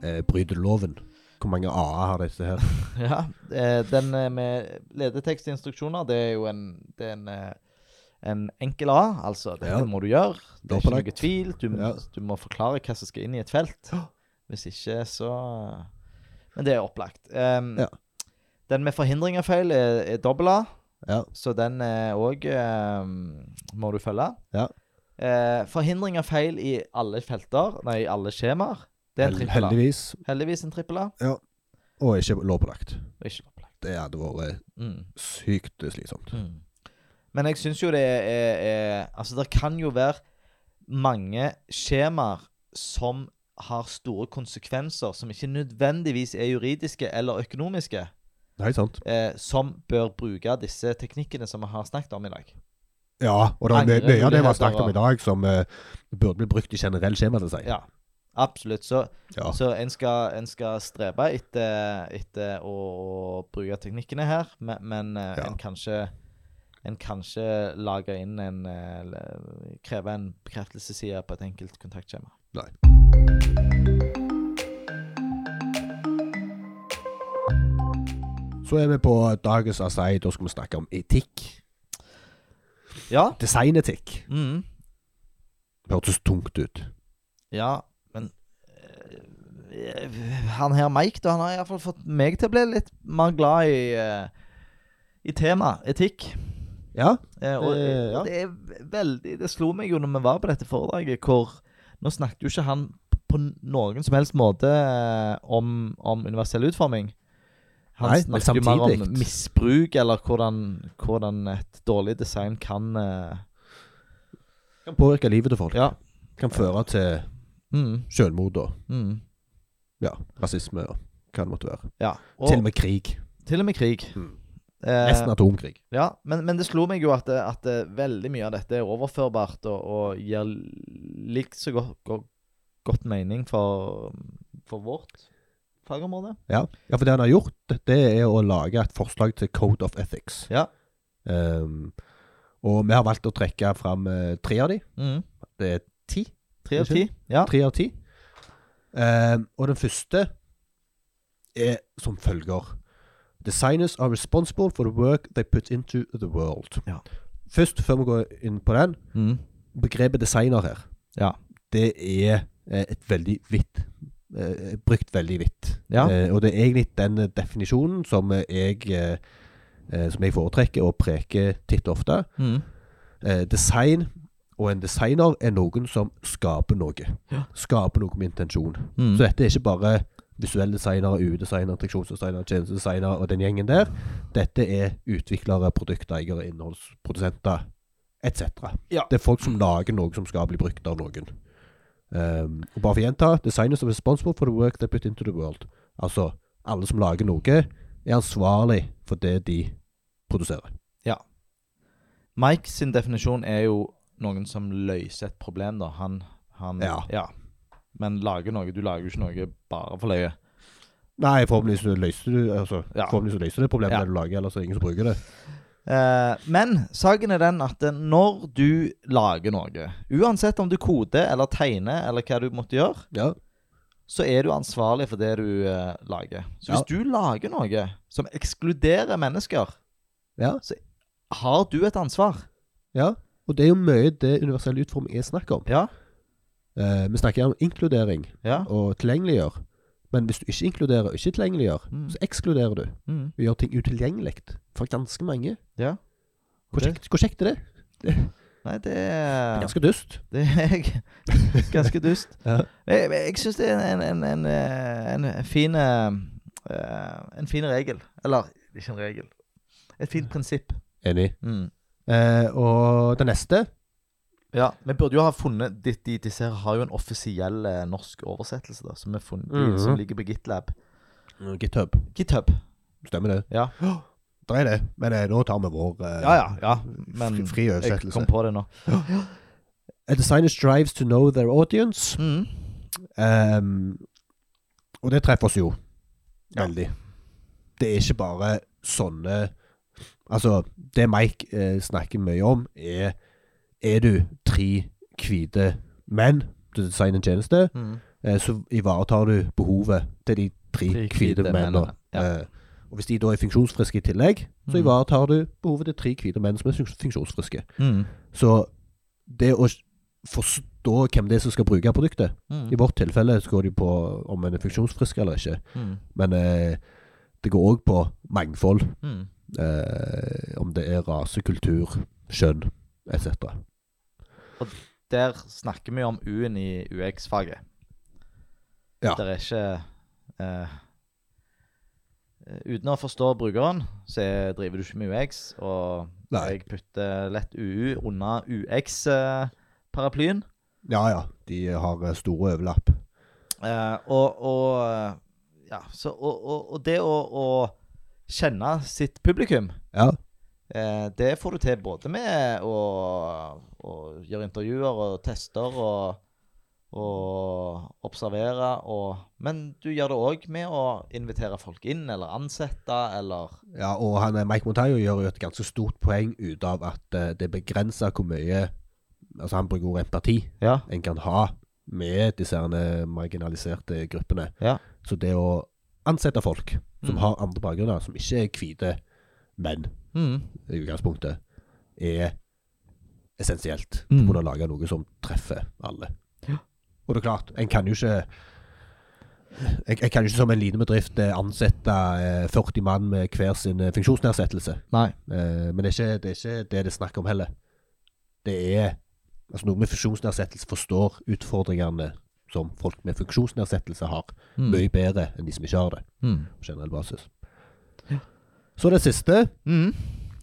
Eh, bryter du loven? Hvor mange A-er har disse her?
Ja, eh, den eh, med ledetekstinstruksjoner, det er jo en, det er en, eh, en enkel A. Altså, dette
Ja.
må du gjøre. Det er ikke
Lovpålagt.
noe tvil. Du, må-
Ja.
du må forklare hva som skal inn i et felt. Hvis ikke, så eh, Men det er opplagt. Em,
Ja.
Den med forhindring av feil er, er dobbel A,
Ja.
så den òg må du følge.
Ja.
Eh, forhindring av feil i alle felter, nei, i alle skjemaer. Det er en
Hel-
trippel A.
Heldigvis.
Heldigvis en trippel A.
Og ikke lovpålagt.
Og ikke lovpålagt.
Det hadde vært eh,
Mm.
sykt slitsomt.
Mm. Men jeg syns jo det er, er, er Altså, det kan jo være mange skjemaer som har store konsekvenser som ikke nødvendigvis er juridiske eller økonomiske,
Nei, sant?
eh, som bør bruke disse teknikkene som vi har snakket om i dag.
Ja, og det er mye- mye av det vi
Angremuligheter
har snakket om i dag, som eh, burde bli brukt i generell skjemadesign.
Ja, absolutt. Så,
Ja.
så en, skal, en skal strebe etter, etter å, å bruke teknikkene her, men, men eh,
Ja.
en kanskje en kanskje lager inn en eh, le- Krever en bekreftelsesside på et enkelt kontaktskjema.
Nei. Så er vi på dagens assay. Da skal vi snakke om etikk.
Ja.
Designetikk.
Mm,
Hørtes tungt ut.
ja, men eh, Han her Mike, da, han har iallfall fått meg til å bli litt mer glad i eh, i tema etikk.
Ja.
Eh, og
Eh, ja.
og det er veldig Det slo meg jo når vi var på dette foredraget, hvor Nå snakket jo ikke han på noen som helst måte eh, om, om universell utforming. Han
Nei, men
snakket jo mer om
samtidig.
misbruk, eller hvordan, hvordan et dårlig design kan eh,
Kan påvirke livet til folk.
Ja.
Kan føre til
Mm,
selvmord og
mm,
ja, rasisme og hva det måtte være.
ja. Og,
til og med krig.
til og med krig.
Mm.
Eh,
Nesten atomkrig.
Ja, men, men det slo meg jo at, eh, at veldig mye av dette er overførbart og, og gir likt så godt, godt, godt mening for, for vårt fagområde.
Ja. ja, for det han har gjort, det er å lage et forslag til Code of Ethics.
Ja.
Ehm, og vi har valgt å trekke fram eh, tre av de.
Mm.
Det er ti.
Tre av ti.
Unnskyld?
Ja.
Tre av ti. Ehm, og den første er som følger. Designers are responsible for the work they put into the world.
Ja.
Først, før vi går inn på den,
Mm.
begrepet designer her,
Ja.
det er eh, et veldig vidt eh, Brukt veldig vidt.
Ja.
Eh, og det er egentlig den eh, definisjonen som eh, jeg eh, eh, Som jeg foretrekker og preker titt og ofte.
Mm.
Eh, design og en designer er noen som skaper noe.
Ja.
Skaper noe med intensjon.
Mm.
Så dette er ikke bare visuelle designere, UU-designere, attraksjonsdesignere, tjenestedesignere og den gjengen der. Dette er utviklere, produkteiere, innholdsprodusenter etc.
Ja.
Det er folk som lager noe som skal bli brukt av noen. Um, og bare for å gjenta Designers are responsible for the work they put into the world. Altså, alle som lager noe, er ansvarlig for det de produserer.
Mike sin definisjon er jo noen som løser et problem, da. Han, han
Ja.
Men lager noe. Du lager jo ikke noe bare for løye.
Nei, forhåpentligvis så løser du altså,
Ja.
forhåpentligvis så løser du problemet
Ja.
du lager, ellers er det ingen som bruker det.
Eh, men saken er den at når du lager noe, uansett om du koder eller tegner eller hva du måtte gjøre,
Ja.
så er du ansvarlig for det du eh, lager. Så
Ja.
hvis du lager noe som ekskluderer mennesker,
Ja.
har du et ansvar.
ja. Og det er jo mye det universell utforming er snakk om.
Ja.
Eh, vi snakker om inkludering
Ja.
og tilgjengeliggjør. Men hvis du ikke inkluderer og ikke tilgjengeliggjør,
Mm.
så ekskluderer du.
Mm.
Vi gjør ting utilgjengelig for ganske mange.
ja.
Hvor
Det-
kjekt, hvor kjekt er det?
Nei, det er
Ganske dust.
Det er g- ganske dust.
Ja.
Jeg, jeg syns det er en, en, en, eh, en, en fin eh, eh, En fin regel. Eller ikke en regel. Et fint prinsipp.
Enig.
Mm.
Eh, og det neste
Ja, Vi burde jo ha funnet de, de, Disse her har jo en offisiell eh, norsk oversettelse, da, som, er funnet,
Mhm.
som ligger på GitLab.
Mm, GitHub.
GitHub.
Stemmer det?
Ja.
Det er det. Men eh, nå tar vi vår eh,
Ja, ja. ja. Men
fri, fri
jeg
oversettelse.
kom på det nå.
A designer strives to know their audience.
Mm.
Ehm, og det treffer oss jo.
Ja.
Veldig. Det er ikke bare sånne Altså, det Mike eh, snakker mye om, er Er du tre hvite menn til å designe en tjeneste,
Mm.
eh, så ivaretar du behovet til de tre
Tre hvite
hvite mennene.
mennene, ja.
Eh, og hvis de da er funksjonsfriske i tillegg, så
Mhm.
ivaretar du behovet til tre hvite menn som er funks- funksjonsfriske.
Mm.
Så det å s- forstå hvem det er som skal bruke produktet
Mm.
I vårt tilfelle så går det jo på om en er funksjonsfrisk eller ikke,
Mm.
men eh, det går òg på mangfold.
Mm.
Eh, om det er rase, kultur, kjønn etc.
der snakker vi om U-en i UX-faget.
Ja.
Det er ikke eh, Uten å forstå brukeren, så er- driver du ikke med UX. Og
Nei.
jeg putter lett UU unna eh, UX-paraplyen.
Ja ja, de har eh, store overlapp.
Eh, og, og eh, Ja, så Og, og, og det å, å kjenne sitt publikum,
Ja.
eh, det får du til både med å, å gjøre intervjuer og tester og og observere og Men du gjør det òg med å invitere folk inn, eller ansette, eller
ja og han, eh, Mike Montayo gjør jo et ganske stort poeng ut av at eh, det begrenser hvor mye Altså, han bruker ordet empati.
Ja.
en kan ha med disse herne marginaliserte gruppene.
Ja.
Så det å ansette folk som
Mm.
har andre bakgrunner, som ikke er hvite menn
Mm.
i utgangspunktet, er essensielt.
Mm.
Å kunne lage noe som treffer alle.
Ja.
Og det er klart, en kan jo ikke jeg, jeg kan jo ikke som en liten bedrift eh, ansette eh, 40 mann med hver sin eh, funksjonsnedsettelse.
Nei.
Eh, men det er, ikke, det er ikke det det er snakk om heller. Det er altså Noen med funksjonsnedsettelse forstår utfordringene som folk med funksjonsnedsettelse har,
Mm.
mye bedre enn de som ikke har det,
Mm.
på generell basis. Så det siste
Mm.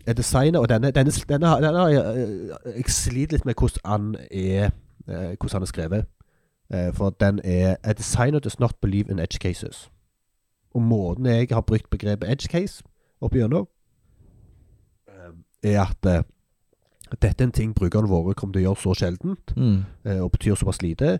er designet, og denne, denne, denne, har- denne har jeg, eh, jeg sliter litt med hvordan han er, eh, hvordan han er skrevet. Eh, For den er A designer does not believe in edge cases. Og måten jeg har brukt begrepet edge case opp igjennom, eh, er at eh, dette er en ting brukerne våre kommer til å gjøre så sjeldent,
Mm.
eh, og betyr såpass lite,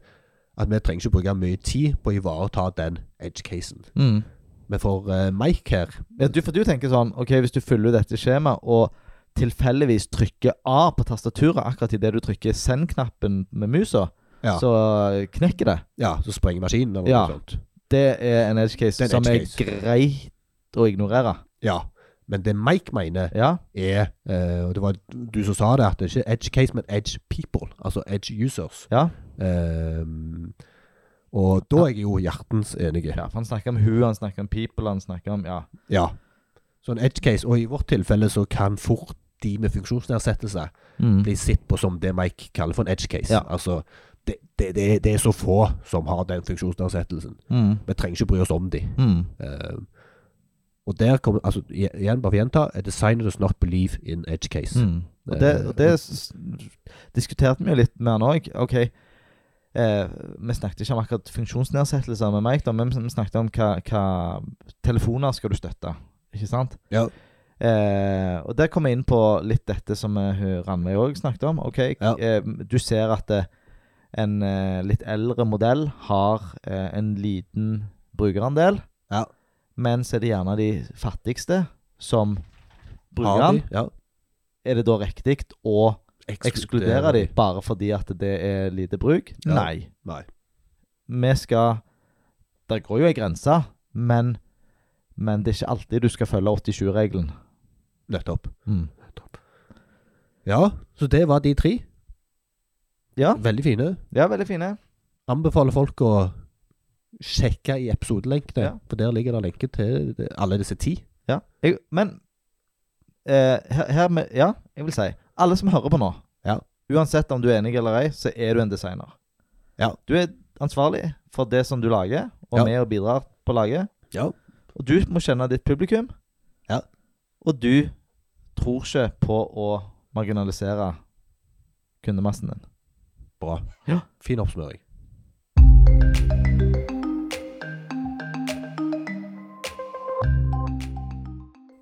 at vi trenger ikke bruke mye tid på å ivareta den edge casen.
Mm.
Men for eh, Mike her
Ja, du, for du tenker sånn Ok, hvis du fyller ut dette skjemaet og tilfeldigvis trykker A på tastaturet akkurat idet du trykker send-knappen med musa,
Ja.
så knekker det.
Ja, så sprenger maskinen eller
Ja.
noe sånt.
Det er en edge case
Det er en
som
edge
er
case.
greit å ignorere.
Ja, men det Mike mener
Ja?
er, eh, og det var du som sa det, at det er ikke edge case, men edge people, altså edge users.
Ja?
Ehm, og da er jeg jo hjertens enig.
ja for han snakker om hun, han snakker om people, han snakker om Ja.
Ja. Så en edge case, og i vårt tilfelle så kan fort de med funksjonsnedsettelse
Mm.
bli sett på som det Mike kaller for en edge case.
Ja.
Altså, det, det, det, er- det er så få som har den funksjonsnedsettelsen.
Mm.
Vi trenger ikke bry oss om de.
Mm.
Ehm, og der kommer, altså i- igjen, bare for å gjenta, a designer does not believe in edge case.
Mm. Og det, og det s- diskuterte vi jo litt med han òg. OK, eh, vi snakket ikke om akkurat funksjonsnedsettelser med meg, da, men vi snakket om hva, hva telefoner skal du støtte. Ikke sant?
Ja.
Eh, og der kom jeg inn på litt dette som eh, hun Ranveig òg snakket om. OK,
Ja.
eh, du ser at eh, en eh, litt eldre modell har eh, en liten brukerandel,
Ja.
men så er det gjerne de fattigste som
Har
bruker den.
de? Ja.
Er det da riktig å Ekskludere de bare fordi at det er lite bruk?
Ja.
Nei.
Nei.
Vi skal Der går jo ei grense, men, men det er ikke alltid du skal følge 87-regelen.
Nettopp.
Mm.
Ja, så det var de tre.
Ja.
Veldig fine.
ja, veldig fine.
Anbefaler folk å sjekke i episodelenkene,
Ja.
for der ligger det lenke til alle disse ti.
Ja. Jeg, men eh, her, her med, Ja, jeg vil si Alle som hører på nå,
Ja.
uansett om du er enig eller ei, så er du en designer.
Ja.
Du er ansvarlig for det som du lager, og
Ja.
med og bidrar på laget.
Ja.
Og du må kjenne ditt publikum.
Ja.
Og du tror ikke på å marginalisere kundemassen din.
Bra.
Ja.
Fin oppsummering.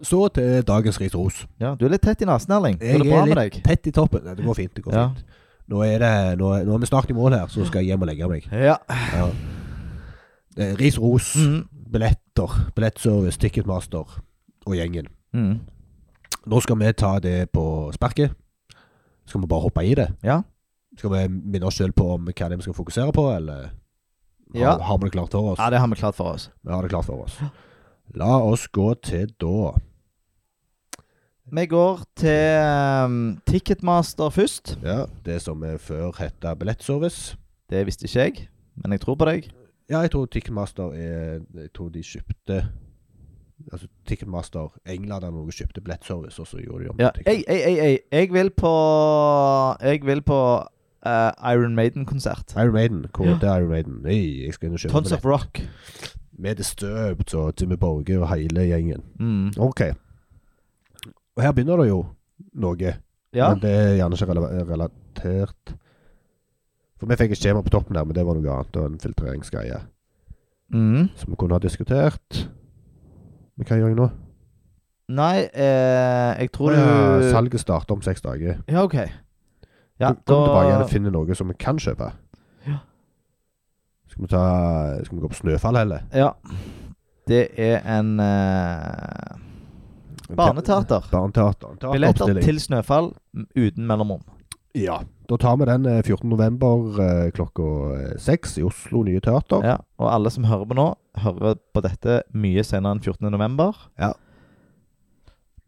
Så til dagens risros.
Ja, Du er litt tett i nesen, Erling.
Jeg
Går det bra
er
med
litt
deg?
tett i toppen. Nei, det går fint. det går
Ja.
fint. Nå er, det, nå, er, nå er vi snart i mål her, så skal jeg hjem og legge meg.
Ja.
Ja. Eh, Risros,
Mm.
billetter, billettservice, Ticketmaster og gjengen.
Mm.
Nå skal vi ta det på sparket. Skal vi bare hoppe i det?
Ja.
Skal vi minne oss selv på om hva det er vi skal fokusere på, eller
Ja.
har, har vi det klart for oss?
ja, det har vi klart for oss.
Vi har det klart for oss. La oss gå til da.
Vi går til ehm, Ticketmaster først.
Ja, det som eh, før hette billettservice.
Det visste ikke jeg, men jeg tror på deg.
Ja, jeg tror Ticketmaster er Jeg tror de kjøpte Altså Ticketmaster England eller noe kjøpte billettservice, og så gjorde de om
Ja.
til
Jeg,
Ticket-
jeg, jeg, jeg, jeg vil på Jeg vil på eh, Iron Maiden-konsert.
Iron Maiden. Hvor det er Iron Maiden? Nei, jeg skal inn og kjøpe
Tons of Rock.
billett. Med det støpt og Jimmy Borge og hele gjengen.
Mm.
OK. Og her begynner det jo noe,
Ja.
men det er gjerne ikke rela- relatert For vi fikk et skjema på toppen der, men det var noe annet og en filtreringsgreie
Mm.
som vi kunne ha diskutert. Men hva gjør jeg nå?
Nei, eh, jeg tror
Å
du
ja, salget starter om seks dager.
Ja, OK. Ja,
Kom tilbake igjen og finne noe som vi kan kjøpe.
Ja.
Skal vi, ta, skal vi gå på snøfall heller?
Ja. Det er en eh, barneteater.
Barneteater. En
Billetter
teateroppstilling.
til Snøfall m- uten mellomrom.
Ja. Da tar vi den eh, 14. november eh, klokka eh, seks i Oslo Nye Teater.
Ja, og alle som hører på nå, hører på dette mye senere enn 14. november.
Ja.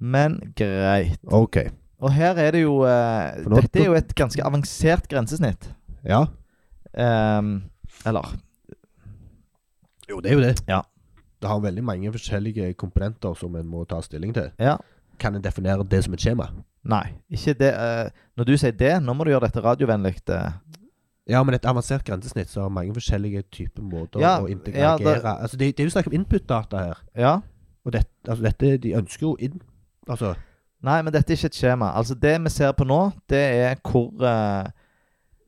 Men greit.
Ok.
Og her er det jo eh,
For nå-
Dette er jo et ganske avansert grensesnitt.
Ja.
Ehm, eller
Jo, det er jo det.
Ja.
Det har veldig mange forskjellige komponenter som en må ta stilling til.
Ja.
Kan en definere det som et skjema?
Nei, ikke det. eh, når du sier det, nå må du gjøre dette radiovennlig. eh.
Ja, men et avansert grensesnitt så har mange forskjellige typer måter
Ja,
å
ja,
integrere
det-
Altså, det, det er jo snakk om input-data her.
ja.
Og det, altså dette, de ønsker jo inn Altså,
Nei, men dette er ikke et skjema. Altså, det vi ser på nå, det er hvor eh,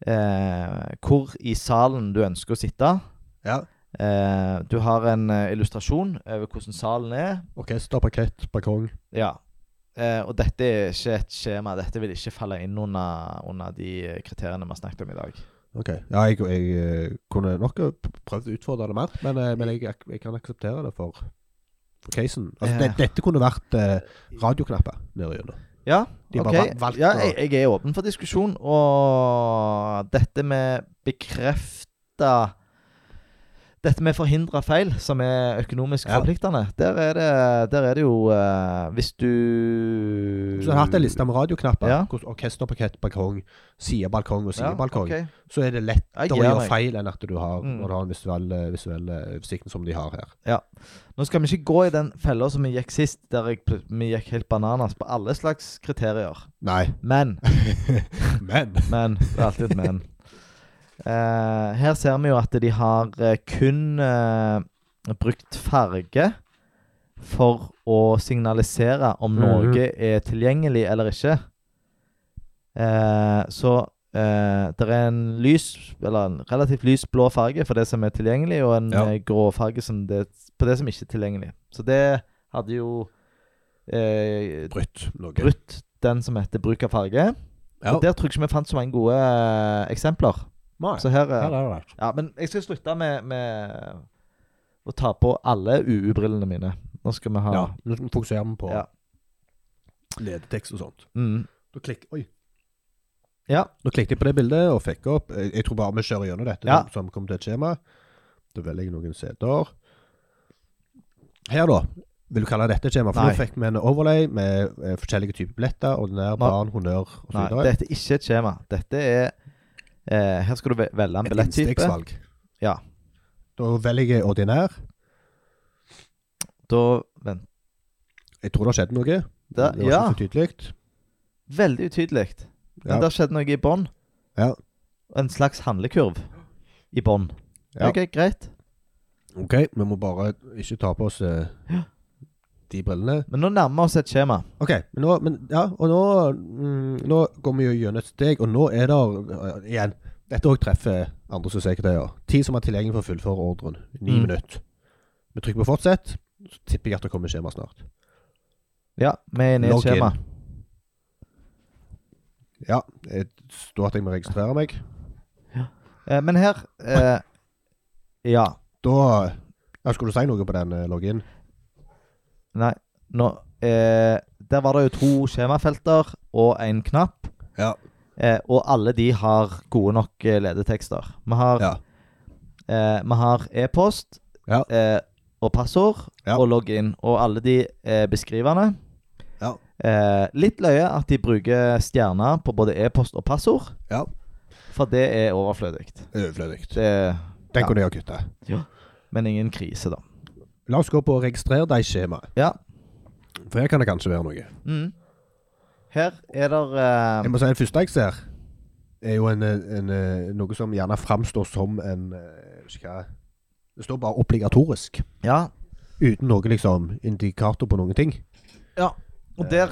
eh, Hvor i salen du ønsker å sitte.
ja.
Eh, du har en eh, illustrasjon over hvordan salen er.
orkester, parkett, balkong
Ja. Eh, og dette er ikke et skjema. Dette vil ikke falle inn under, under de kriteriene vi har snakket om i dag.
Ok, ja, jeg, jeg eh, kunne nok eh, p- prøvd å utfordre det mer, men, eh, men jeg, jeg kan akseptere det for, for casen. Altså,
Ja.
det, dette kunne vært eh, radioknapper nede gjennom.
Ja,
De
ok.
bare val- valgte
ja,
å-
jeg, jeg er åpen for diskusjon. Og dette med bekrefta Dette med forhindre feil, som er økonomisk
Ja.
forpliktende, der er det, der er det jo eh, Hvis du
Hvis du hadde hatt en liste med radioknapper,
Ja.
hvordan orkester, parkett, balkong, sidebalkong og
Ja,
sidebalkong,
ok.
så er det
Jeg
lettere å
gir
gjøre
meg.
feil enn at du har,
Mm.
når du har eh, den visuelle, visuelle oversikten som de har her.
Nå skal vi ikke gå i den fella som vi gikk sist, der jeg, pl- vi gikk helt bananas på alle slags kriterier.
Nei,
Men
men
Men. Det er alltid et men. Eh, her ser vi jo at de har eh, kun eh, brukt farge for å signalisere om
Mhm.
noe er tilgjengelig eller ikke. Eh, så eh, det er en lys, eller en relativt lys blå farge for det som er tilgjengelig, og en
Ja.
eh, grå farge som det, på det som ikke er tilgjengelig. Så det hadde jo eh,
Brutt noe.
brutt den som heter bruk av farge.
Ja.
Og Der tror jeg ikke vi fant så mange gode eh, eksempler.
Nei.
Så her, eh,
Her har det vært.
Ja, men jeg skal slutte med, med å ta på alle UU-brillene mine. Nå skal vi ha
Ja. Nå fokuserer vi på
Ja.
ledetekst og sånt.
Mm.
Da klikk, oi.
Ja.
Nå klikket jeg på det bildet og fikk opp. Jeg, jeg tror bare vi kjører gjennom dette
Ja.
som- som kommer til et skjema. Da velger jeg noen seter. Her, da. Vil du kalle dette et skjema? For
Nei.
nå fikk vi en overlay med eh, forskjellige typer billetter. Ordinær, barn, honnør og så
Nei,
videre.
dette er ikke et skjema. Dette er eh, Her skal du ve- velge en
Et
billettype.
innstegsvalg.
Ja.
Da velger jeg ordinær.
Da vent.
Jeg tror det har skjedd noe.
Da-
det var
ja.
ikke så tydelig.
Veldig utydelig. Men
Ja.
det skjedde noe i bånn.
Ja.
En slags handlekurv i bånn.
Ja.
OK, greit.
OK, vi må bare ikke ta på oss eh, de brillene.
Men nå nærmer vi oss et skjema.
Ok, men nå, men, ja, og nå, mm, nå går vi jo gjennom et steg, og nå er det øh, igjen Dette òg treffer andre sosialsekretærer. Tid som er tilgjengelig for å fullføre ordren. Ni
Mm.
minutter. Vi trykker på 'fortsett', så tipper jeg at det kommer skjema snart.
Ja, vi er inne i et
Logg inn.
skjema.
Ja, det står at jeg må registrere meg.
Eh, men her eh, Ja.
Da ja, Skulle du si noe på den eh, login?
Nei, nå eh, Der var det jo to skjemafelter og en knapp.
Ja.
Eh, og alle de har gode nok eh, ledetekster. Vi har,
Ja.
eh, vi har e-post
Ja.
eh, og passord
Ja.
og login, og alle de er beskrivende.
Ja.
Eh, litt løye at de bruker stjerner på både e-post og passord,
ja.
for det er overflødig.
Overflødig.
Det,
Den
Ja.
kunne jeg ha kutta.
men ingen krise, da.
La oss gå på 'registrer deg skjemaet',
Ja.
for her kan det kanskje være noe.
Mm. Her er det
Jeg
eh,
må si det første jeg ser, er jo en, eh, en, eh, noe som gjerne framstår som en eh, jeg vet ikke hva, Det står bare obligatorisk.
Ja.
Uten noe liksom indikator på noen ting.
ja. Og der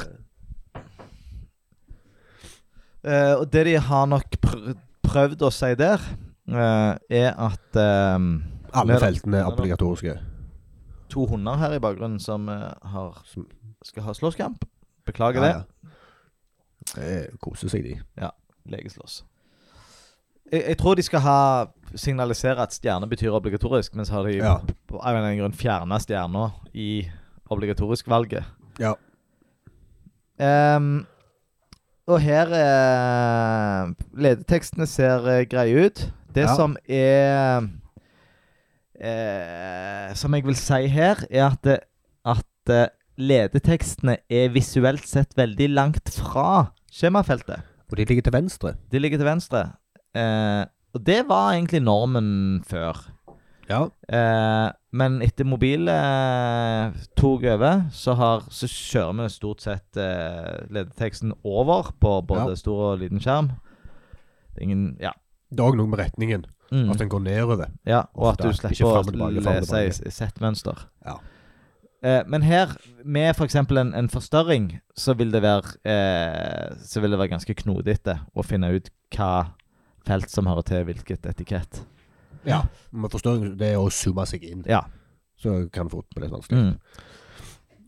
Eh, Og det de har nok prø- prøvd å si der, eh, er at eh,
Alle
Men-
feltene er
men-
obligatoriske.
to hunder her i bakgrunnen som eh, har,
Som-
skal ha slåsskamp Beklager
Ja,
det.
ja. Det koser seg, de.
legeslåss. Jeg, jeg tror de skal ha signalisere at stjerne betyr obligatorisk, men så har de
Ja.
på av en eller annen grunn fjerna stjerna i obligatorisk-valget.
Ja.
Ehm, og her eh, Ledetekstene ser eh, greie ut. Det
Ja.
som er eh, Som jeg vil si her, er at, det- at eh, ledetekstene er visuelt sett veldig langt fra skjemafeltet.
Og de ligger til venstre.
De ligger til venstre. Eh, og det var egentlig normen før.
Ja.
Eh, men etter mobil eh, tok over, så, har, så kjører vi stort sett eh, ledeteksten over på både
Ja.
stor og liten skjerm. Det er Ingen, ja.
Det er òg noe med retningen.
Mm,
At den går nedover.
ja. Og at
ofte
du
er- ikke
slipper
frem og
å
tilbake, frem og
lese i s- settmønster.
Ja.
Eh, men her, med f.eks. En, en forstørring, så vil det være eh, Så vil det være ganske knodete å finne ut hva felt som hører til hvilket etikett.
ja. Man forstår det er å zoome seg inn.
Ja.
Så kan fort bli litt vanskelig.
Mm.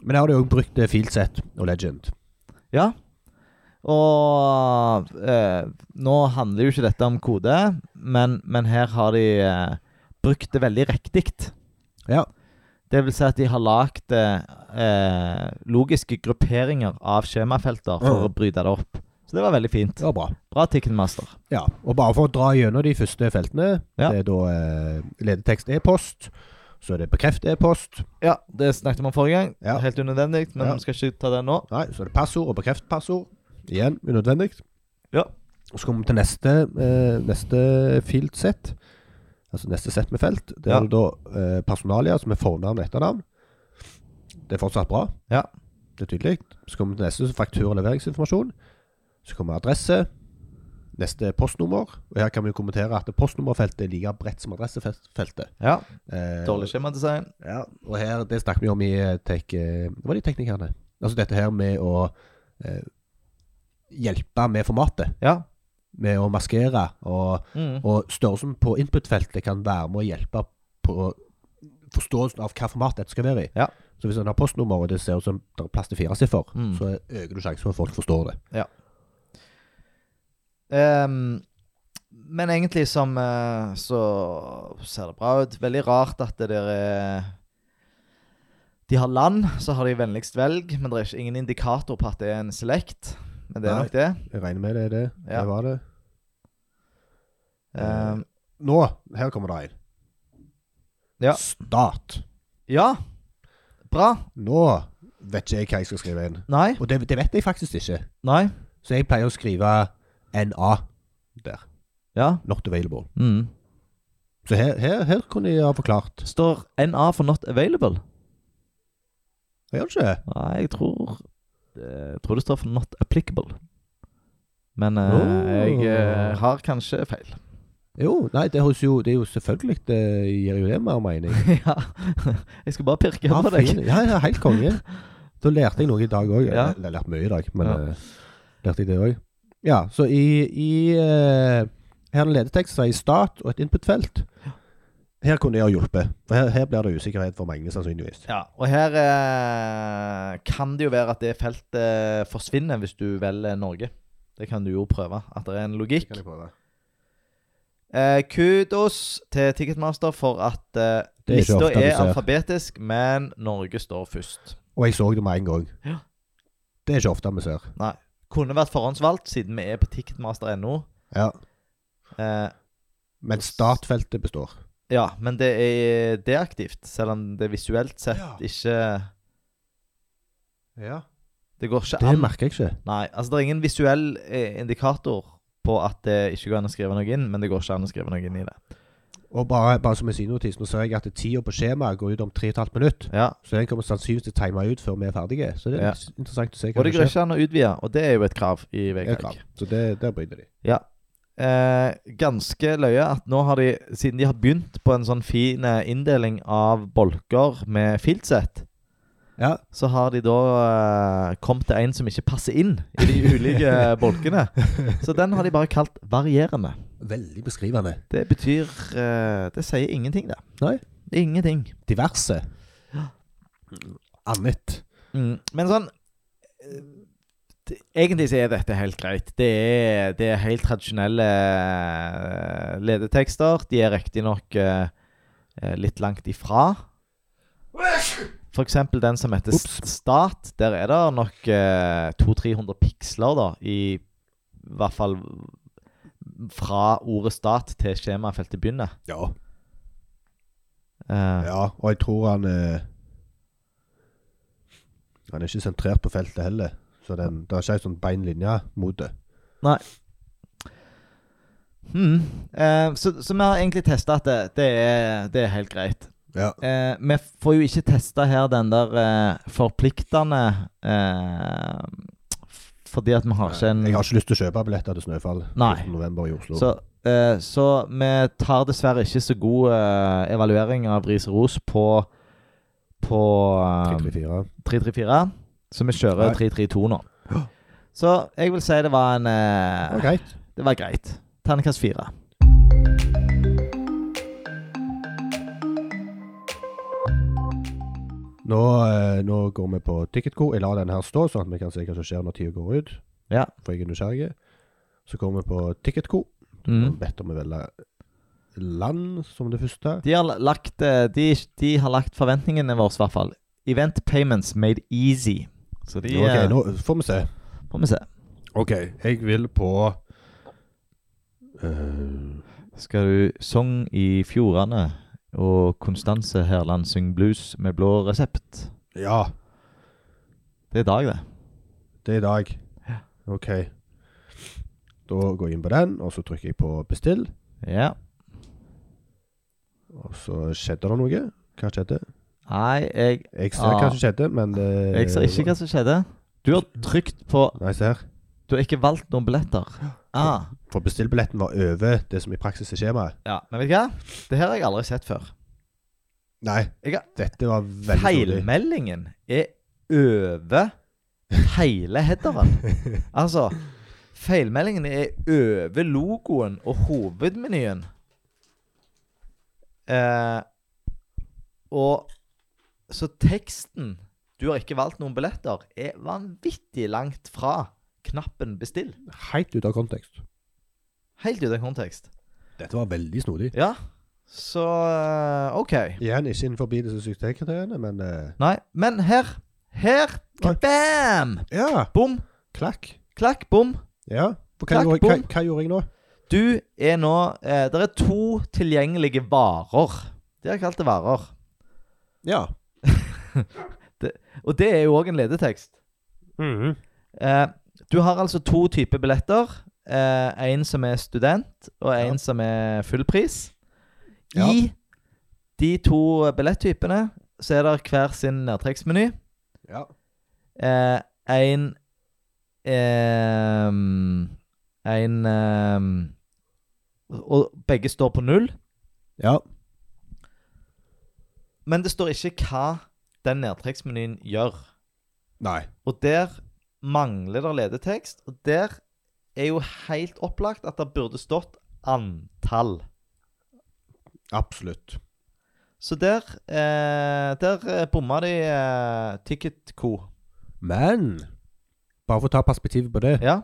Men jeg har jo òg brukt eh, Fieldset og Legend.
Ja. Og eh, nå handler jo ikke dette om kode, men, men her har de eh, brukt det veldig riktig.
Ja.
Det vil si at de har lagd eh, eh, logiske grupperinger av skjemafelter for
Ja.
å bryte det opp. Så det var veldig fint.
Det var bra.
Bra Ticketmaster.
Ja, og bare for å dra gjennom de første feltene,
Ja.
det er da eh, ledetekst e-post, så er det bekreft e-post,
Ja, det snakket vi om forrige gang.
Ja.
Helt unødvendig, men
Ja.
vi skal ikke ta det nå.
nei, så er det passord og bekreft passord, igjen unødvendig.
Ja.
Og så kommer vi til neste, eh, neste field set, altså neste set med felt, det
Ja.
er da eh, personalia som er fornavn og etternavn. Det er fortsatt bra.
Ja.
Det er tydelig. Så kommer vi til neste så faktura- og leveringsinformasjon, så kommer adresse, neste er postnummer, og her kan vi jo kommentere at postnummerfeltet er like bredt som adressefeltet.
ja.
Eh,
Dårlig skjemadesign.
Ja, og her, det snakket vi om i eh, tek, eh, Hva var de teknikerne? Altså dette her med å eh, hjelpe med formatet.
Ja.
Med å maskere. Og,
Mm.
og størrelsen på input-feltet kan være med å hjelpe på forståelsen av hva format dette skal være i.
Ja.
Så hvis en har postnummer, og det ser ut som det er plass til fire siffer,
Mm.
så øker du sjansen for at folk forstår det.
Ehm, men egentlig som eh, så ser det bra ut. Veldig rart at det der er De har land, så har de vennligst velg, men det er ikke ingen indikator på at det er en select. Men det er
Nei.
nok det.
Jeg regner med det er det.
Ja.
Det var det.
Ehm,
Nå, her kommer det en.
Ja.
Stat.
ja. Bra.
Nå vet ikke jeg hva jeg skal skrive inn.
Nei.
Og det, det vet jeg faktisk ikke.
Nei.
Så jeg pleier å skrive NA der.
Ja.
Not available.
Mm.
Så her, her, her kunne jeg ha forklart.
Står NA for not available?
Jeg gjør ikke det.
Nei, jeg tror eh, Jeg tror det står for not applicable. Men eh,
Oh.
jeg eh, har kanskje feil.
Jo, nei, det, høres jo, det er jo selvfølgelig Det gir jo det mer mening.
ja. Jeg skal bare pirke
Ja,
på deg.
fin. ja, ja, helt konge. Da lærte jeg noe i dag òg.
Ja.
Jeg har lært mye i dag, men
Ja.
eh, lærte jeg det òg. Ja, så i, i eh, Her er en ledetekst som sier stat og et input-felt. Her kunne jeg ha hjulpet. For her, her blir det usikkerhet for mange, sannsynligvis.
Ja, og her eh, kan det jo være at det feltet forsvinner hvis du velger Norge. Det kan du jo prøve, at det er en logikk.
jeg prøve.
Eh, kudos til Ticketmaster for at eh,
Det er ikke
lista
ofte du
er
ser.
alfabetisk, men Norge står først.
Og jeg så det med en gang.
Ja.
Det er ikke ofte vi ser.
Kunne vært forhåndsvalgt, siden vi er på ticketmaster.no.
Ja.
Eh,
Men startfeltet består.
ja, men det er deaktivt, selv om det visuelt sett
Ja.
ikke
Ja.
Det går ikke
Det
an.
merker jeg ikke.
Nei, altså det er ingen visuell eh, indikator på at det ikke går an å skrive noe inn, men det går ikke an å skrive noe inn i det.
Og bare, bare som en sidenotis, nå ser jeg at tida på skjemaet går ut om 3,5 minutt.
Ja,
Så den kommer sannsynligvis til å time ut før vi er ferdige. Så det er
Ja.
litt interessant å se
Og
hva
det
som
går
skjer.
ikke an å utvide, og det er jo et krav i
Det er krav.
VG.
Så det, der bryter de.
Ja. eh, ganske løye at nå har de, siden de har begynt på en sånn fin eh, inndeling av bolker med filtsett,
Ja.
så har de da eh, kommet til en som ikke passer inn i de ulike eh, bolkene. Så den har de bare kalt varierende.
Veldig beskrivende.
Det betyr eh, Det sier ingenting, det.
Nei.
Ingenting.
Diverse. Annet.
Mm. Men sånn eh, det, Egentlig så er dette helt greit. Det er, det er helt tradisjonelle eh, ledetekster. De er riktignok uh, litt langt ifra. For eksempel den som heter
Ups.
Stat. Der er det nok eh, 200-300 piksler, da, i hvert fall fra ordet stat til skjemafeltet begynner.
Ja.
Eh,
ja. Og jeg tror han eh, Han er ikke sentrert på feltet heller. Så den, det er ikke ei sånn bein linje mot det.
Mm. Eh, så, så vi har egentlig testa at det, det, er, det er helt greit.
Ja.
Eh, vi får jo ikke testa her den der eh, forpliktende eh, f- Fordi at vi har ikke en
Jeg har ikke lyst til å kjøpe billetter til Snøfall
Nei.
14. november i Oslo.
så, eh, så vi tar dessverre ikke så god eh, evaluering av Ris og Ros på, på eh,
334.
334. Så vi
Nei.
kjører 332 nå. Så jeg vil si det var en eh,
Det var greit.
Det var greit. Terningkast fire.
Nå, eh, nå går vi på Ticketco. Jeg lar den her stå, sånn at vi kan se hva som skjer når tida går ut.
Ja.
For jeg er nysgjerrig. Så går vi på Ticketco.
Mm.
og Bedt om å velge land som det første.
De har lagt, eh, de, de har lagt forventningene våre, i hvert fall. Event payments made easy. Så de
Ok,
eh,
nå får vi se.
får vi se.
OK, jeg vil på eh,
Skal du Sogn i fjordene og Konstanse Herland syng blues med blå resept?
Ja,
Det er dag, det.
det er i dag. OK. Da går jeg inn på den, og så trykker jeg på bestill.
Ja.
Og så skjedde det noe. Hva skjedde?
Nei, jeg,
Jeg ser
Ah.
hva som skjedde, men eh, det
jeg ser ikke hva som skjedde. Du har trykt på
Nei, se her.
Du har ikke valgt noen billetter. Ah.
For bestillbilletten var over det som i praksis er skjemaet.
Ja, Men vet du hva? Det her har jeg aldri sett før.
Nei,
Jeg har-
dette var veldig dårlig.
Feilmeldingen er over hele headeren. Altså, feilmeldingen er over logoen og hovedmenyen. Eh, og så teksten 'Du har ikke valgt noen billetter' er vanvittig langt fra knappen 'bestill'.
Helt ut av kontekst.
Helt uten kontekst.
Dette var veldig snodig.
Ja, så eh, OK.
Igjen ikke innenfor disse suksesskriteriene, men eh,
Nei, men her Her!
Oi.
Bam!
Ja!
Bom!
Klakk.
Klakk, bom!
Ja. For hva,
Klakk,
gjorde, hva,
bom.
hva gjorde jeg nå?
Du er nå eh, Det er to tilgjengelige varer. De har kalt det varer.
Ja.
Og det er jo òg en ledetekst.
Mhm.
Eh, du har altså to typer billetter. Eh, en som er student, og en
Ja.
som er fullpris.
Ja.
I de to billettypene så er det hver sin nedtrekksmeny.
ja.
Eh, en ehm, En ehm, Og begge står på null.
Ja.
Men det står ikke hva den nedtrekksmenyen gjør.
Nei.
Og der mangler det ledetekst. Og der er jo helt opplagt at det burde stått antall.
Absolutt.
Så der, eh, der eh, bomma de eh, Ticket Co.
Men bare for å ta perspektivet på det
Ja.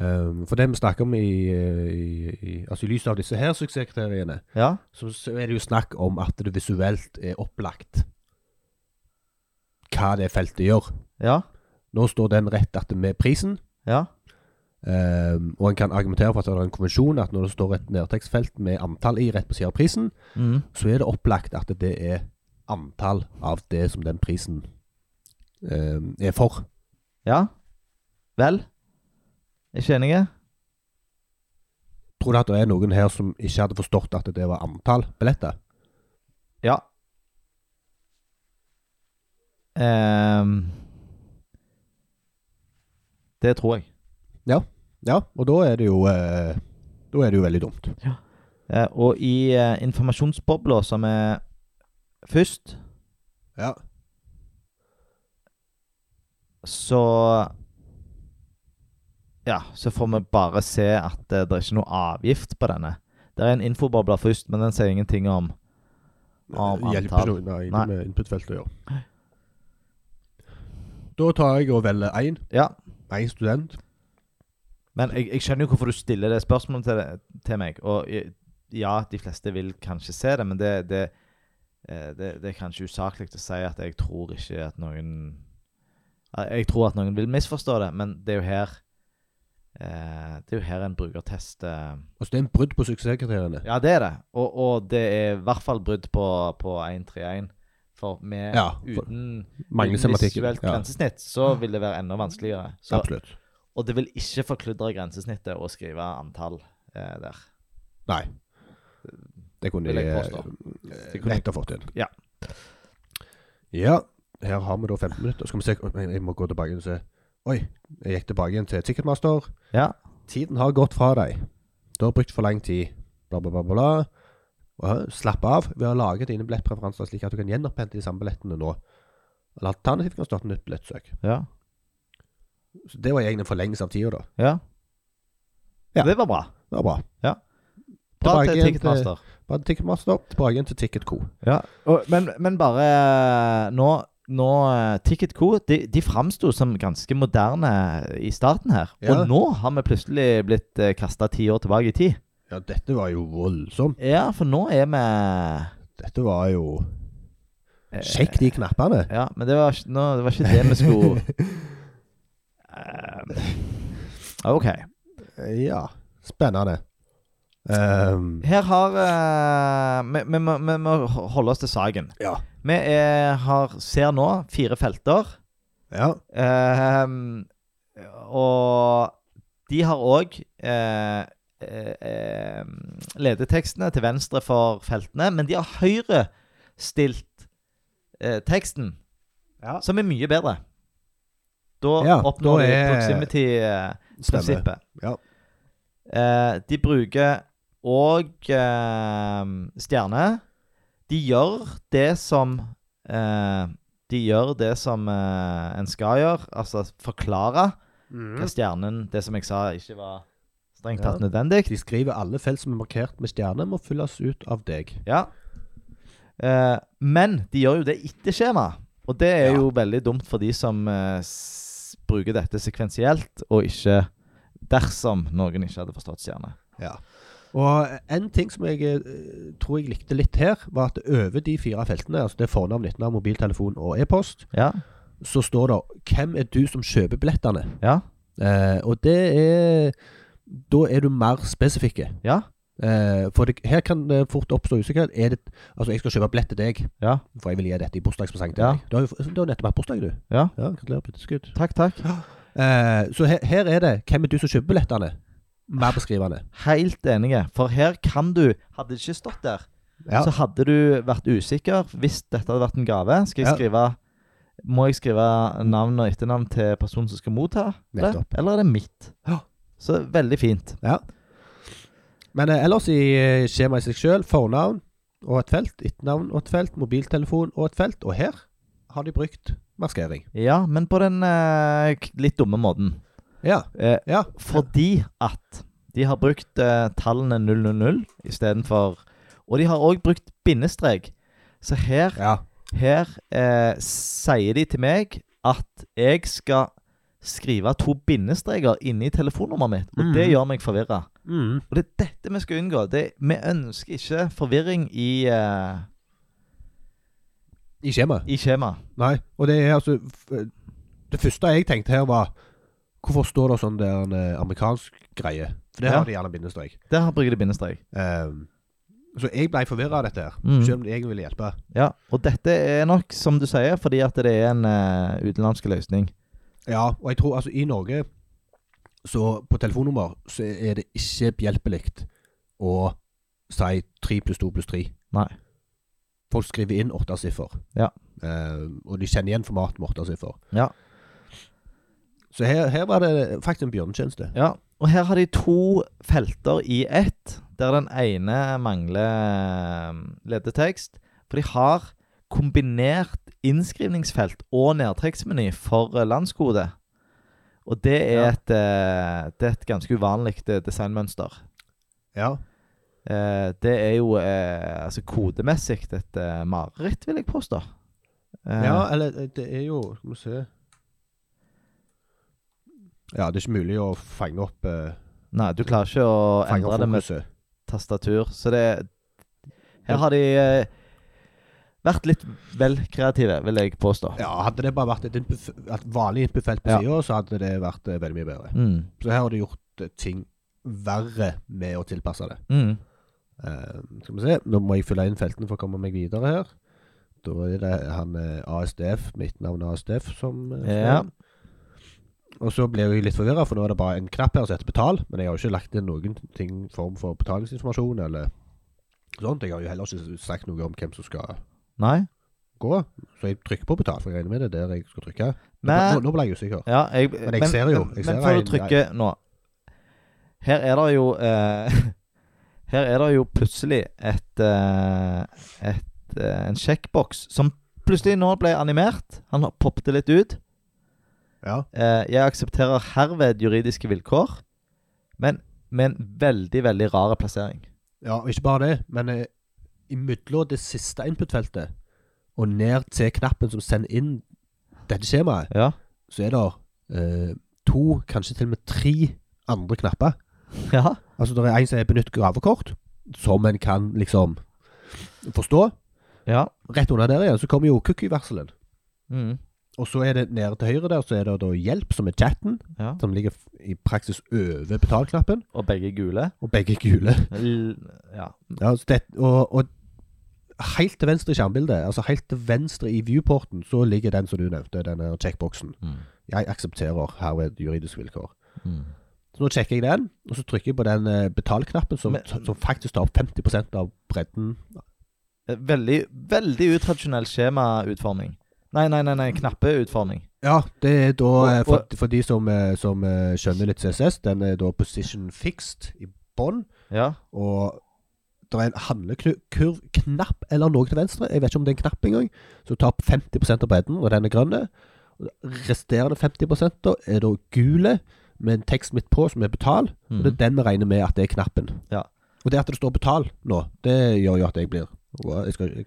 eh, For det vi snakker om i, eh, i, i, altså i lys av disse her suksesskriteriene,
ja.
så, så er det jo snakk om at det visuelt er opplagt hva det feltet gjør.
Ja.
Nå står den rett at med prisen,
Ja.
ehm, og en kan argumentere for at det er en konvensjon at når det står et nedtrekksfelt med antall i rett på siden av prisen,
Mm.
så er det opplagt at det er antall av det som den prisen ehm, er for.
ja. Vel? Ikke enige?
Tror du at det er noen her som ikke hadde forstått at det var antall billetter?
Ja. Ehm, det tror jeg.
Ja, og da er det jo eh, Da er det jo veldig dumt.
Eh, og i eh, informasjonsbobla som er først,
Ja.
så Ja, så får vi bare se at eh, det er ikke noe avgift på denne. Det er en infoboble først, men den sier ingenting om Om
Det
antall.
Hjelper ikke noe nei,
Nei.
ikke med inputfeltet å gjøre. Da tar jeg og velger én.
Ja.
Én student.
Men jeg, jeg skjønner jo hvorfor du stiller det spørsmålet til, til meg. Og i- ja, de fleste vil kanskje se det, men det, det, eh, det, det er kanskje usaklig å si at jeg tror ikke at noen eh, Jeg tror at noen vil misforstå det, men det er jo her eh, Det er jo her en brukertest eh,
Altså, det er en brudd på suksesskriteriene.
Ja, det er det. Og, og det er i hvert fall brudd på, på 131. For med
Ja, for-
uten,
Mangler
uten
semantikken.
visuelt
Ja,
grensesnitt, så vil det være enda vanskeligere. Så
absolutt.
og det vil ikke forkludre grensesnittet å skrive antall eh, der.
Nei. Det kunne
Vil
de
jeg
eh,
påstå.
eh,
Det kunne-
lett ha fått inn.
Ja.
Ja, her har vi da 15 minutter. Skal vi se Oi, Jeg må gå tilbake og se. Oi, jeg gikk tilbake igjen til Ticketmaster.
Ja.
Tiden har gått fra deg. Du har brukt for lang tid. Bla, bla, bla, bla. Ja, Slapp av. Vi har laget dine billettpreferanser slik at du kan gjenopphente de samme billettene nå. Eller alternativt kan du starte nytt billettsøk.
Ja.
Så det var egentlig en forlengelse av tida, da.
ja.
Ja.
Det var bra.
Det var bra.
Bra
Tilbake
til
igjen
Ticketmaster.
Bare Ticketmaster, tilbake igjen til Ticketco.
Ja. Og, men, men bare eh, nå, nå eh, Ticketco de, de framsto som ganske moderne eh, i starten her.
Ja.
Og nå har vi plutselig blitt eh, kasta ti år tilbake i tid.
Ja, dette var jo voldsomt.
Ja, for nå er vi
Dette var jo
eh,
Sjekk de knappene.
Ja, men det var, ikke- nå, det var ikke det vi skulle Eh, OK. eh,
Ja. Spennende. Ehm,
Her har eh, vi- Vi må- vi må holde oss til saken.
ja.
Vi er, har, ser nå fire felter.
Ja.
ehm, og de har òg eh, eh, ehm, ledetekstene til venstre for feltene, men de har høyrestilt eh, teksten,
Ja.
som er mye bedre. Da
Ja,
oppnår eh,
da
vi
er- Stemmer.
proximity-prinsippet.
Ja.
Eh, de bruker òg eh, stjerne. De gjør det som eh, De gjør det som eh, en skal gjøre, altså forklare hva stjernen Det som jeg sa ikke var strengt tatt
Mm. Ja.
nødvendig.
De skriver alle felt som er markert med stjerne, må fylles ut av deg.
Ja. Eh, men de gjør jo det etter skjema, og det er
Ja.
jo veldig dumt for de som eh, s bruker dette sekvensielt, og ikke dersom noen ikke hadde forstått stjerne.
Ja. Og en ting som jeg eh, tror jeg likte litt her, var at over de fire feltene, altså det er fornavn, etternavn, mobiltelefon og e-post,
Ja,
så står det 'Hvem er du som kjøper billettene?'
ja,
Eh, og det er Da er du mer spesifikke.
ja,
Eh, for det, her kan det fort oppstå usikkerhet. Er det, altså, jeg skal kjøpe billett til deg,
ja.
for jeg vil gi dette i bursdagspresang til
Ja.
deg. Du har jo du har nettopp hatt bursdag, du.
Ja.
ja Gratulerer på etterskudd.
Takk, takk.
Eh, så her, her er det 'Hvem er du som kjøper billettene?' Mer beskrivende.
Helt enige. For her kan du Hadde det ikke stått der,
Ja.
så hadde du vært usikker hvis dette hadde vært en gave. Skal jeg
Ja.
skrive Må jeg skrive navn og etternavn til personen som skal motta det?
Nettopp.
Eller er det mitt?
Ja.
Så veldig fint.
Men eh, ellers i eh, skjemaet i seg sjøl, fornavn og et felt, etternavn og et felt, mobiltelefon og et felt. Og her har de brukt maskering.
Ja, men på den eh, k- litt dumme måten.
Ja.
Eh,
Ja.
Fordi at de har brukt eh, tallene 000 istedenfor Og de har òg brukt bindestrek. Så her
ja.
Her eh, sier de til meg at jeg skal skrive to bindestreker inni telefonnummeret mitt, og det
Mhm.
gjør meg forvirra.
Mm.
Og det er dette vi skal unngå. Det, vi ønsker ikke forvirring i, eh,
I skjemaet.
i skjemaet.
Nei, og det er altså f- Det første jeg tenkte her var Hvorfor står det sånn der en eh, amerikansk greie? For det
Ja.
har de gjerne bindestrek.
Der har bruker de bindestrek.
Ehm, så jeg ble forvirra av dette, her
Mm.
selv om jeg ville hjelpe.
Ja, og dette er nok, som du sier, fordi at det er en eh, utenlandsk løsning.
Ja, og jeg tror altså i Norge Så på telefonnummer så er det ikke behjelpelig å si 3 pluss 2 pluss 3.
Nei.
Folk skriver inn åttesiffer.
Ja.
Ehm, og de kjenner igjen format med åttesiffer.
Ja.
Så her, her var det faktisk en bjørnetjeneste.
Ja, Og her har de to felter i ett, der den ene mangler eh, ledetekst. For de har kombinert innskrivningsfelt og nedtrekksmeny for eh, landskode. Og det er,
Ja.
et, eh, det er et ganske uvanlig eh, designmønster.
Ja.
Eh, det er jo eh, altså kodemessig et eh, mareritt, vil jeg påstå. Eh,
ja, eller eh, det er jo Skal vi se Ja, det er ikke mulig å fange opp eh,
Nei, du klarer ikke å
fange
endre
opp
det med
fokuset.
tastatur. Så det Her har de eh, vært litt vel kreative, vil jeg påstå.
Ja, Hadde det bare vært et, input, et vanlig input-felt på
Ja.
sida, så hadde det vært eh, veldig mye bedre.
Mm.
Så her har du gjort eh, ting verre med å tilpasse det.
Mm.
Eh, skal vi se, Nå må jeg fylle inn feltene for å komme meg videre her. Da er det han eh, ASDF, mitt navn er ASDF, som eh, står.
Ja.
Og så ble jeg litt forvirra, for nå er det bare en knapp her som heter 'betal'. Men jeg har jo ikke lagt inn noen ting form for betalingsinformasjon eller sånt. Jeg har jo heller ikke sagt noe om hvem som skal
Nei?
gå. Så jeg trykker på 'betal', for jeg regner med det er der jeg skal trykke.
Nei.
Nå, nå ble jeg usikker.
Ja, jeg,
Men jeg ser jo- jeg
men,
ser
men før
en-
du trykker nå Her er det jo eh, Her er det jo plutselig et, eh, et eh, En sjekkboks som plutselig nå ble animert. Han har poppet litt ut.
Ja.
Eh, jeg aksepterer herved juridiske vilkår, men med en veldig, veldig rar plassering.
Ja, og ikke bare det, men eh, imellom det siste input-feltet og ned til knappen som sender inn dette skjemaet,
Ja.
så er det eh, to, kanskje til og med tre andre knapper.
ja.
Altså, det er en som er benytt gravekort, som en kan liksom forstå.
ja.
Rett under der igjen så kommer jo cookie-varselen.
Mm.
Og så er det nede til høyre der, så er det da hjelp, som er chatten,
ja.
som ligger f- i praksis over betalknappen,
Og begge gule.
og begge gule.
L ja.
Ja, så det, og, og helt til venstre i skjermbildet, altså helt til venstre i viewporten, så ligger den som du nevnte, denne checkboxen.
Mm.
Jeg aksepterer herved juridisk vilkår.
Mm.
Så nå sjekker jeg den, og så trykker jeg på den eh, betalknappen som,
Men-
som faktisk tar opp 50 av bredden.
Eh, Veldig, veldig utradisjonell skjemautforming. Nei, nei, nei, nei knappeutforming.
Ja, det er da, eh, for,
og-
for de som, eh, som eh, skjønner litt CSS, den er da position fixed i bånn,
Ja.
og det er en handlekurv, knapp eller noe til venstre, jeg vet ikke om det er en knapp engang, som tar opp 50 av bredden, og den er grønne. Resterende 50 da er da gule, med en tekst midt på som er betal,
Mm.
og det er den vi regner med at det er knappen.
Mhm. Ja.
Og det at det står betal nå, det gjør jo at jeg blir Wow, jeg skal, jeg,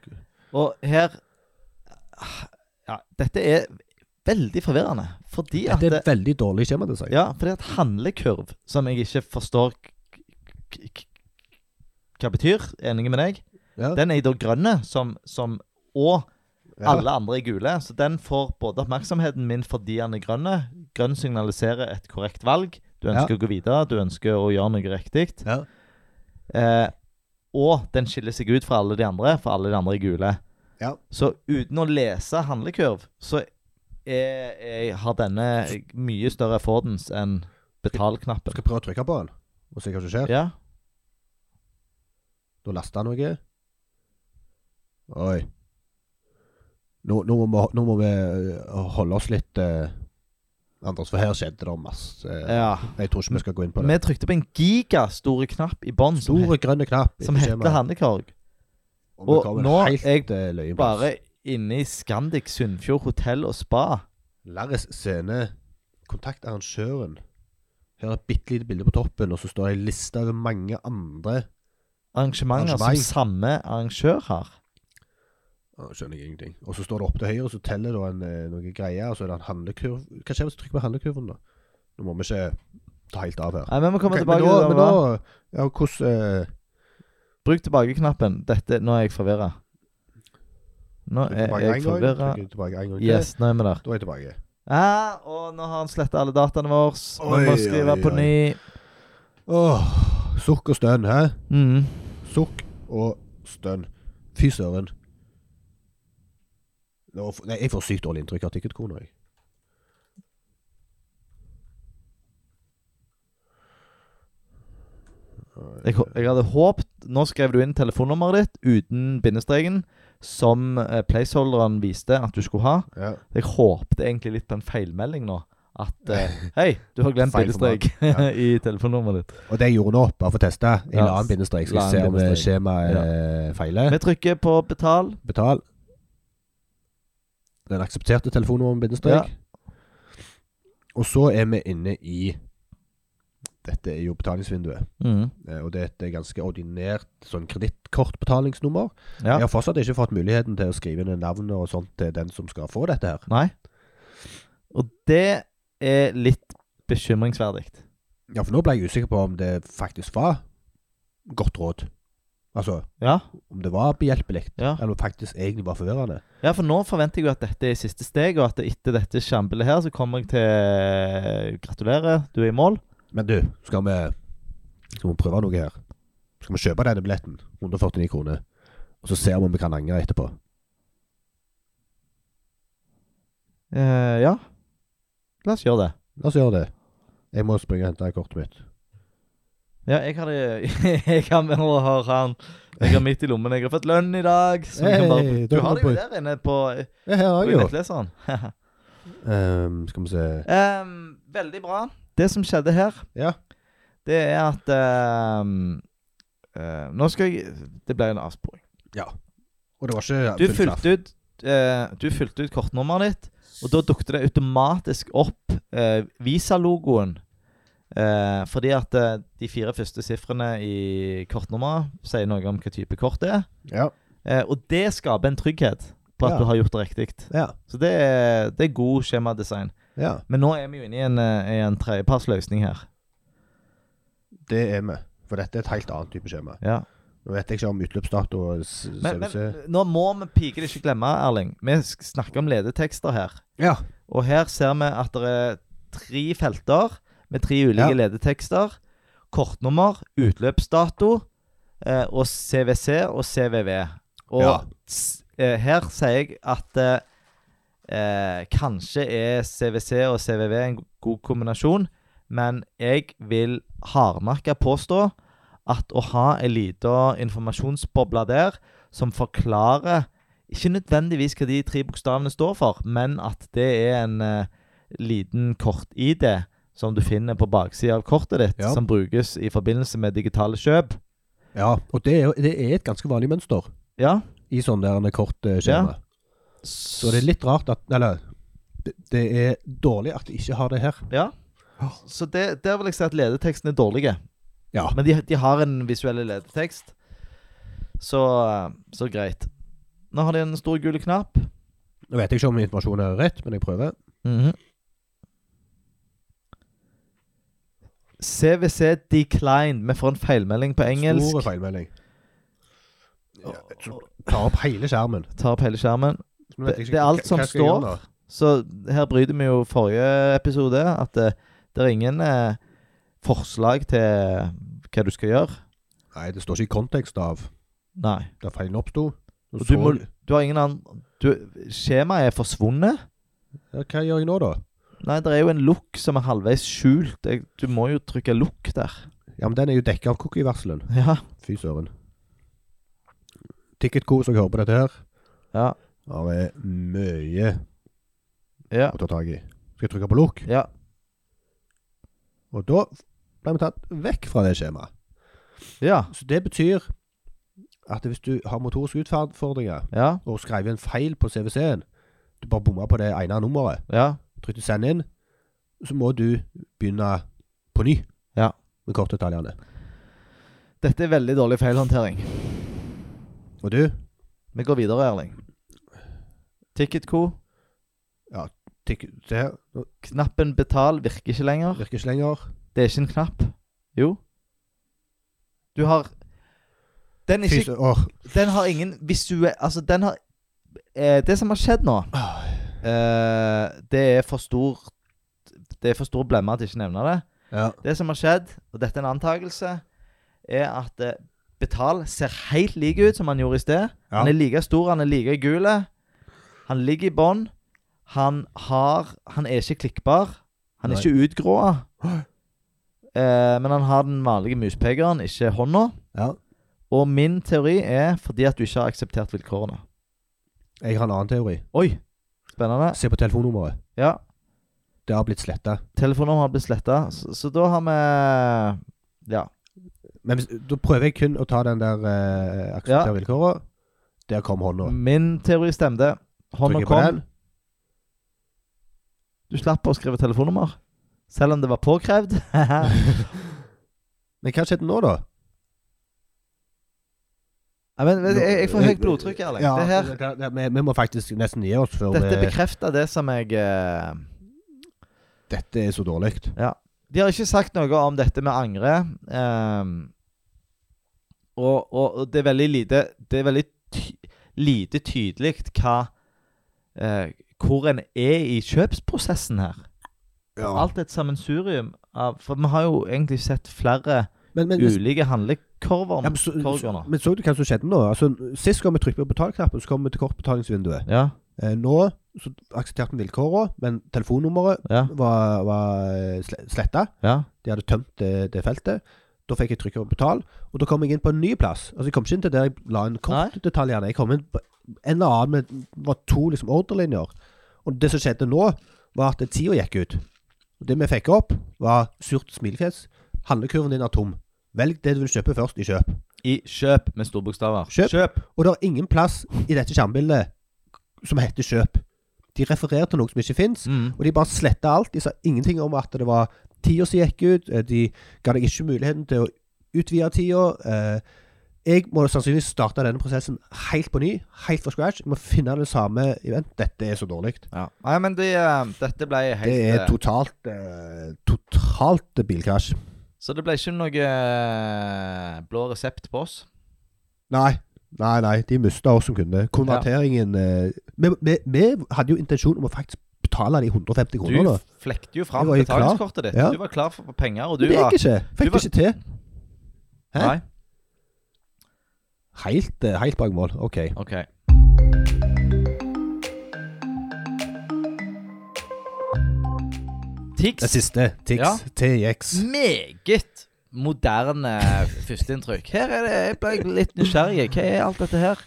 Og her Ja, dette er veldig forvirrende. Fordi at
Dette er veldig dårlig skjemadesign.
Ja, fordi at handlekurv, som jeg ikke forstår k- k- k- hva betyr, enig med deg,
Ja.
den er da grønne, som, som og
Ja.
alle andre er gule. Så den får både oppmerksomheten min fordi den er grønne. Grønn signaliserer et korrekt valg. Du ønsker å gå videre, du ønsker å gjøre noe riktig.
Ja.
Eh, og den skiller seg ut fra alle de andre, for alle de andre er gule.
Ja.
Så uten å lese handlekurv, så er, er, har denne mye større affordance enn
Jeg
betalknappen.
skal prøve å trykke på den, og se hva som skjer.
Ja.
Da laster han noe. Oi. Nå, nå, må, vi- nå må vi øh, holde oss litt eh, Anders, for her skjedde det masse eh,
ja.
Jeg tror ikke vi skal gå inn på det.
Vi trykte på en gigastor knapp i bånn som,
Store grønne knapp.
he- som
etter
heter
skjemaet.
handlekurv.
Og,
og
vi kommer
nå
helt,
jeg
eh, løyen plass.
Bare inne i Scandic Sunnfjord hotell og spa.
Larris scene. Kontakt arrangøren. Her er et bitte lite bilde på toppen, og så står det ei liste over mange andre
Arrangementer som
Arrangement.
samme arrangør har.
Å, Skjønner jeg ingenting. Og så står det opp til høyre, så teller da en, eh, noen greier, og så er det en handlekurv. Hva skjer hvis du trykker på handlekurven, da? Nå må vi ikke ta helt av her.
Nei, men vi kommer
Ok,
tilbake
men
til
da,
det.
men
det var.
da ja, hvordan eh,
Bruk tilbake-knappen. Dette Nå er jeg forvirra. Nå
trykker
er
tilbake en
jeg
gang,
forvirra.
trykker tilbake en gang til.
Yes, nå er vi der.
Da er jeg tilbake.
Ja, og nå har han sletta alle dataene våre. Nå
Oi,
må vi skrive
oi,
på
oi.
ny.
Åh, sukk og stønn, hæ?
Mm.
Sukk og stønn. Fy søren. Nå, f- nei, jeg får sykt dårlig inntrykk av ticketkona, jeg.
Jeg, hå- jeg hadde håpt Nå skrev du inn telefonnummeret ditt uten bindestreken, som eh, placeholderen viste at du skulle ha.
Ja.
Jeg håpte egentlig litt på en feilmelding nå. at eh, Hei, du har glemt
Feil
bindestrek
format,
i telefonnummeret ditt.
Og det jeg gjorde nå, bare for å teste, en
Ja.
annen bindestrek, skal
La en
jeg se om eh,
bindestrek.
skjemaet eh, feiler.
Vi trykker på betal.
Betal. Den aksepterte telefonnummeret bindestrek. Og så er vi inne i Dette er jo betalingsvinduet.
Mm.
Eh, Og det er et ganske ordinært sånn kredittkortbetalingsnummer.
Ja.
Jeg har fortsatt ikke fått muligheten til å skrive inn navnet og sånt til den som skal få dette her.
Nei. Og det er litt bekymringsverdig.
Ja, for nå ble jeg usikker på om det faktisk var godt råd. Altså,
Ja.
om det var behjelpelig,
Ja.
eller om det faktisk egentlig var forvirrende.
ja, for nå forventer jeg jo at dette er siste steg, og at etter dette sjambelet her, så kommer jeg til Gratulerer, du er i mål.
Men du, skal vi, skal vi prøve noe her? Skal vi kjøpe denne billetten, 149 kroner, og så ser vi om vi kan angre etterpå?
Eh, ja. La oss gjøre det.
La oss gjøre det. Jeg må springe og hente kortet mitt.
Ja, jeg har det Jeg har med og har han. Jeg har midt i lommen. Jeg har fått lønn i dag. Så jeg kan
Hey,
bare, du
da
har
kan
det jo
du-
der inne på,
Ja, her
på
er jeg jo.
nettleseren.
Ehm, skal vi se
Ehm, veldig bra. Det som skjedde her,
Ja.
det er at ehm, eh, Nå skal jeg Det ble en avsporing.
Og det var ikke
Du
full klaff.
fulgte ut eh, Du fulgte ut kortnummeret ditt, og da dukket det automatisk opp eh, Visa-logoen. Eh, fordi at eh, de fire første sifrene i kortnummeret sier noe om hva type kort det er.
Ja.
Eh, og det skaper en trygghet på at
Ja.
du har gjort det riktig.
Ja.
Så det er, det er god skjemadesign.
ja.
Men nå er vi jo inne i en, eh, i en tredjepartsløsning her.
Det er vi. For dette er et helt annet type skjema.
Ja.
Nå vet jeg ikke om utløpsdato og s-
Men, men
CVC.
nå må vi pikelig ikke glemme, Erling. Vi sk- snakker om ledetekster her.
Ja.
Og her ser vi at det er tre felter med tre ulike
Ja.
ledetekster. Kortnummer, utløpsdato eh, og CWC og CVV. Og
Ja.
s- eh, her sier jeg at eh, eh, kanskje er CWC og CVV en go- god kombinasjon, men jeg vil hardnakka påstå at å ha ei lita informasjonsboble der som forklarer ikke nødvendigvis hva de tre bokstavene står for, men at det er en eh, liten kort-ID som du finner på baksida av kortet ditt,
Ja.
som brukes i forbindelse med digitale kjøp.
ja. Og det er, jo- det er et ganske vanlig mønster
Ja.
i sånne der eh, kortskjema. Så det er litt rart at Eller det, det er dårlig at de ikke har det her.
Ja. Så det, der vil jeg si at ledeteksten er dårlige.
Ja.
Men de, de har en visuell ledetekst. Så, eh, så greit. Nå har de en stor gul knapp.
Nå vet jeg ikke om informasjonen er rett, men jeg prøver.
Mhm. CVC declined. Vi får en feilmelding på engelsk.
Store feilmelding. Ja, så Ta opp hele skjermen.
Tar opp hele skjermen.
Så nå vet
Det-
jeg ikke
det er alt
hva-
som
hva skal jeg gjøre
står.
nå?
Så her bryter vi jo forrige episode, at eh, det er ingen eh, forslag til hva du skal gjøre.
Nei, det står ikke i kontekst av
Nei.
der feilen oppsto. Og
Og du,
så-
må, du har ingen annen du, Skjemaet er forsvunnet.
Ja, Hva gjør jeg nå, da?
Nei, det er jo en look som er halvveis skjult. Jeg, du må jo trykke look der.
Ja, men den er jo dekka av cookie-varselen.
Ja.
Fy søren. Ticketco, som jeg hører på dette her,
Ja.
har jeg mye
Ja.
å ta tak i. Skal jeg trykke på lukk?
ja.
Og da ble vi tatt vekk fra det skjemaet.
ja.
Så det betyr at hvis du har motoriske utfordringer
ja.
og skrev en feil på CVC-en, du bare bomma på det ene nummeret,
ja.
trykte 'send inn', så må du begynne på ny
Ja.
med kortdetaljene.
Dette er veldig dårlig feilhåndtering.
Og du,
Vi går videre, Erling. Ticketco.
tikk, se her, nå
Knappen 'betal' virker ikke lenger.
virker ikke lenger.
Det er ikke en knapp. Jo. Du har Den, er
Fy
ikke,
sø- åh.
den har ingen visuell Altså, den har eh, Det som har skjedd nå, eh, det er for stor Det er for stor blemme at jeg ikke nevner det.
Ja.
Det som har skjedd, og dette er en antakelse, er at eh, Betal ser helt lik ut som han gjorde i sted.
Ja.
Han er like stor, han er like gul. Han ligger i bånn. Han har Han er ikke klikkbar. Han er
Nei.
ikke utgråa.
Hæ?
Eh, men han har den vanlige muspekeren, ikke hånda.
ja.
Og min teori er fordi at du ikke har akseptert vilkårene.
Jeg har en annen teori.
Oi! Spennende.
Se på telefonnummeret.
Ja.
Det har blitt sletta.
Telefonnummer har blitt sletta, så, så da har vi Ja.
Men hvis, da prøver jeg kun å ta den der eh, akseptere vilkåra. Der kom hånda.
Min teori stemte. Hånda
Trykker på
kom.
den.
Du slapp å skrive telefonnummer. Selv om det var påkrevd. jeg
Men hva skjedde nå, da?
men, jeg, jeg får høyt blodtrykk, Erling.
Ja,
det her,
det- det- vi, vi må faktisk nesten gi oss før
dette
vi
bekrefter det som jeg eh,
Dette er så dårlig.
De har ikke sagt noe om dette med angre. ehm, og, og, og det er veldig lite Det er veldig ty lite tydelig hva eh, Hvor en er i kjøpsprosessen her.
Ja.
Alt er et sammensurium av For vi har jo egentlig sett flere
Men, men,
ulike handlekorver.
ja, men, så,
korger
så,
nå.
men så du hva som skjedde nå? Altså, sist gang vi trykte på betalknappen, så kom vi til kortbetalingsvinduet.
Ja,
Eh, nå så aksepterte vi vilkåra, men telefonnummeret
ja,
var, var sletta.
ja.
De hadde tømt det, det feltet. Da fikk jeg trykket på betal, og da kom jeg inn på en ny plass. Altså Jeg kom ikke inn til der jeg la inn kortdetaljene. Jeg kom inn på en eller annen med det var to liksom ordrelinjer. Og det som skjedde nå, var at tida gikk ut. Og Det vi fikk opp, var surt smilefjes. Handlekurven din er tom. Velg det du vil kjøpe først i kjøp.
I kjøp med store bokstaver.
Kjøp.
kjøp.
Og det er ingen plass i dette skjermbildet som heter kjøp. De refererer til noe som ikke fins.
Mm.
Og de bare sletta alt. De sa ingenting om at det var tida som gikk ut. eh, De ga deg ikke muligheten til å utvide tida. eh, Jeg må sannsynligvis starte denne prosessen helt på ny, helt fra scratch. Jeg må finne det samme event. Dette er så dårlig.
Ja. Nei, men de, eh, dette ble helt
Det er
eh,
totalt eh, Totalt bilkrasj.
Så det ble ikke noe eh, blå resept på oss.
Nei. Nei, nei, de mista oss som kunde. Konverteringen eh, vi, vi, vi hadde jo intensjon om å faktisk betale de 150
Du
kronene. da.
flekte jo fram
Jeg var jo klar.
betalingskortet ditt.
Ja.
Du var klar for for penger, og du
Men det
var
gikk ikke.
du
Fikk
var-
det ikke til. Hæ?
Nei?
Helt, eh, helt bak mål. OK.
OK.
Det
Tix.
siste. Tix.
Ja.
TX.
Meget moderne førsteinntrykk. Her er det Jeg ble litt nysgjerrig. Hva er alt dette her?